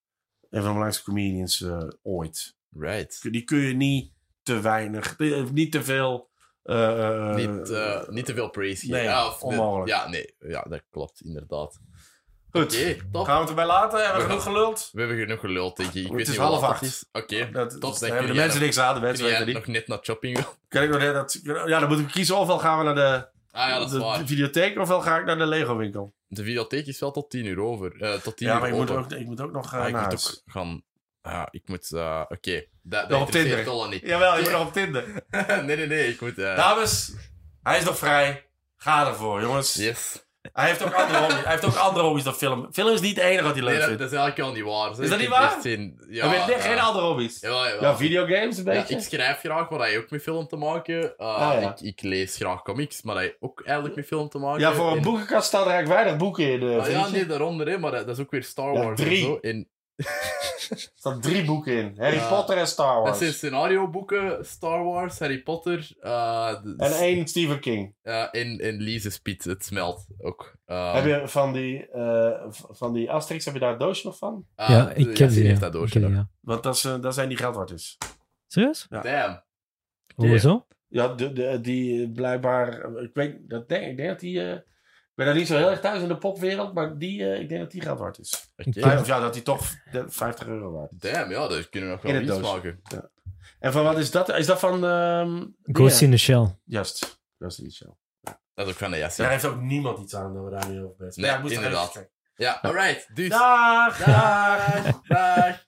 van de belangrijkste comedians eh, ooit
Right.
die kun je niet te weinig, eh, niet te veel. eh,
niet, eh, niet te veel praise hier.
nee,
ja, of de-
onmogelijk.
ja, nee. Ja, dat klopt, inderdaad.
Goed.
Oké, top.
Gaan we het erbij laten? Hebben we
We
genoeg geluld?
We hebben genoeg geluld, denk ik. Ik
Oh, Het is
weet niet hoe
half
laat het
acht.
is. Oké,
Dat,
top.
dat
Dan
hebben
kun
de
jij
mensen
nog-
niks aan, de
kun
mensen
jij
weten niet.
nog net naar shopping wil.
Kan ik nog net dat, ja, dan moet ik kiezen ofwel gaan we naar de,
Ah ja, dat is
de,
waar.
videotheek ofwel ga ik naar de Lego winkel.
De videotheek is wel tot 10 uur over. Eh, tot 10
Ja,
uur
maar ik moet,
open.
ook, ik moet ook nog eh,
Ah, ik
naar
moet
huis.
ook gaan... Ja, ik moet... eh, Oké,
Nog
dat, dat
op
interesseert
Tinder.
Tolle niet.
Jawel, ik ben nog op Tinder.
nee, nee, nee, ik moet... eh,
Dames, hij is nog vrij. Ga ervoor, jongens.
yes.
Hij, heeft ook andere hobby's. hij heeft ook andere hobby's dan film. Film is niet het enige wat hij leuk
Nee, dat,
vindt.
dat is eigenlijk wel niet waar. Zo,
Is dat
ik
niet
heb
waar?
echt zin- Ja,
Hij heeft
ja.
echt geen andere hobby's.
Jawel, jawel.
Ja, videogames een
Ja,
beetje.
ik schrijf graag, maar dat heeft ook met film te maken. Uh,
Ah, ja.
ik, ik lees graag comics, maar dat heeft ook eigenlijk met film te maken.
Ja, voor een
En-
boekenkast staan er eigenlijk weinig boeken in. eh,
Ah, ja,
vriendje.
nee, daaronder, hè, maar eh, dat, dat is ook weer Star
Ja,
Wars. en
drie.
zo. En
Er staan drie boeken in. Harry
Ja.
Potter en Star
dat
Wars.
zijn scenarioboeken, Star Wars, Harry Potter. eh, de-
En één Stephen King.
eh, en, en Lise Spiet, het smelt ook. Eh,
Heb je van die, eh, v- van die Asterix, heb je daar een doosje nog van?
eh,
Ja, ik
Jassie
ken die.
heeft
ja.
dat door.
Ik ken die, ja.
Want dat, is, eh, dat zijn die geldwaarders.
Serieus?
ja.
Damn. Ja.
Hoezo?
Ja, de, de, die eh, blijkbaar... eh, Ik, weet, dat denk, ik denk dat die... eh, ik ben daar niet zo heel erg thuis in de popwereld, maar die, eh, ik denk dat die geld waard is.
Oké.
Ja.
Of ja, dat die toch de- 50 euro waard is.
Damn, ja, dat kunnen we nog wel
In het
iets
doos.
maken.
En van wat is dat? Is dat van... ehm
Ghost
die-
in the Shell.
Juist. Dat is niet zo.
Dat is ook van de Jassie.
Daar heeft ook niemand iets aan dat we daar nu over bezig zijn. Ja,
Nee,
ik moest er even
inderdaad.
kijken.
Ja, alright. Dus.
Dag!
Dag. Dag.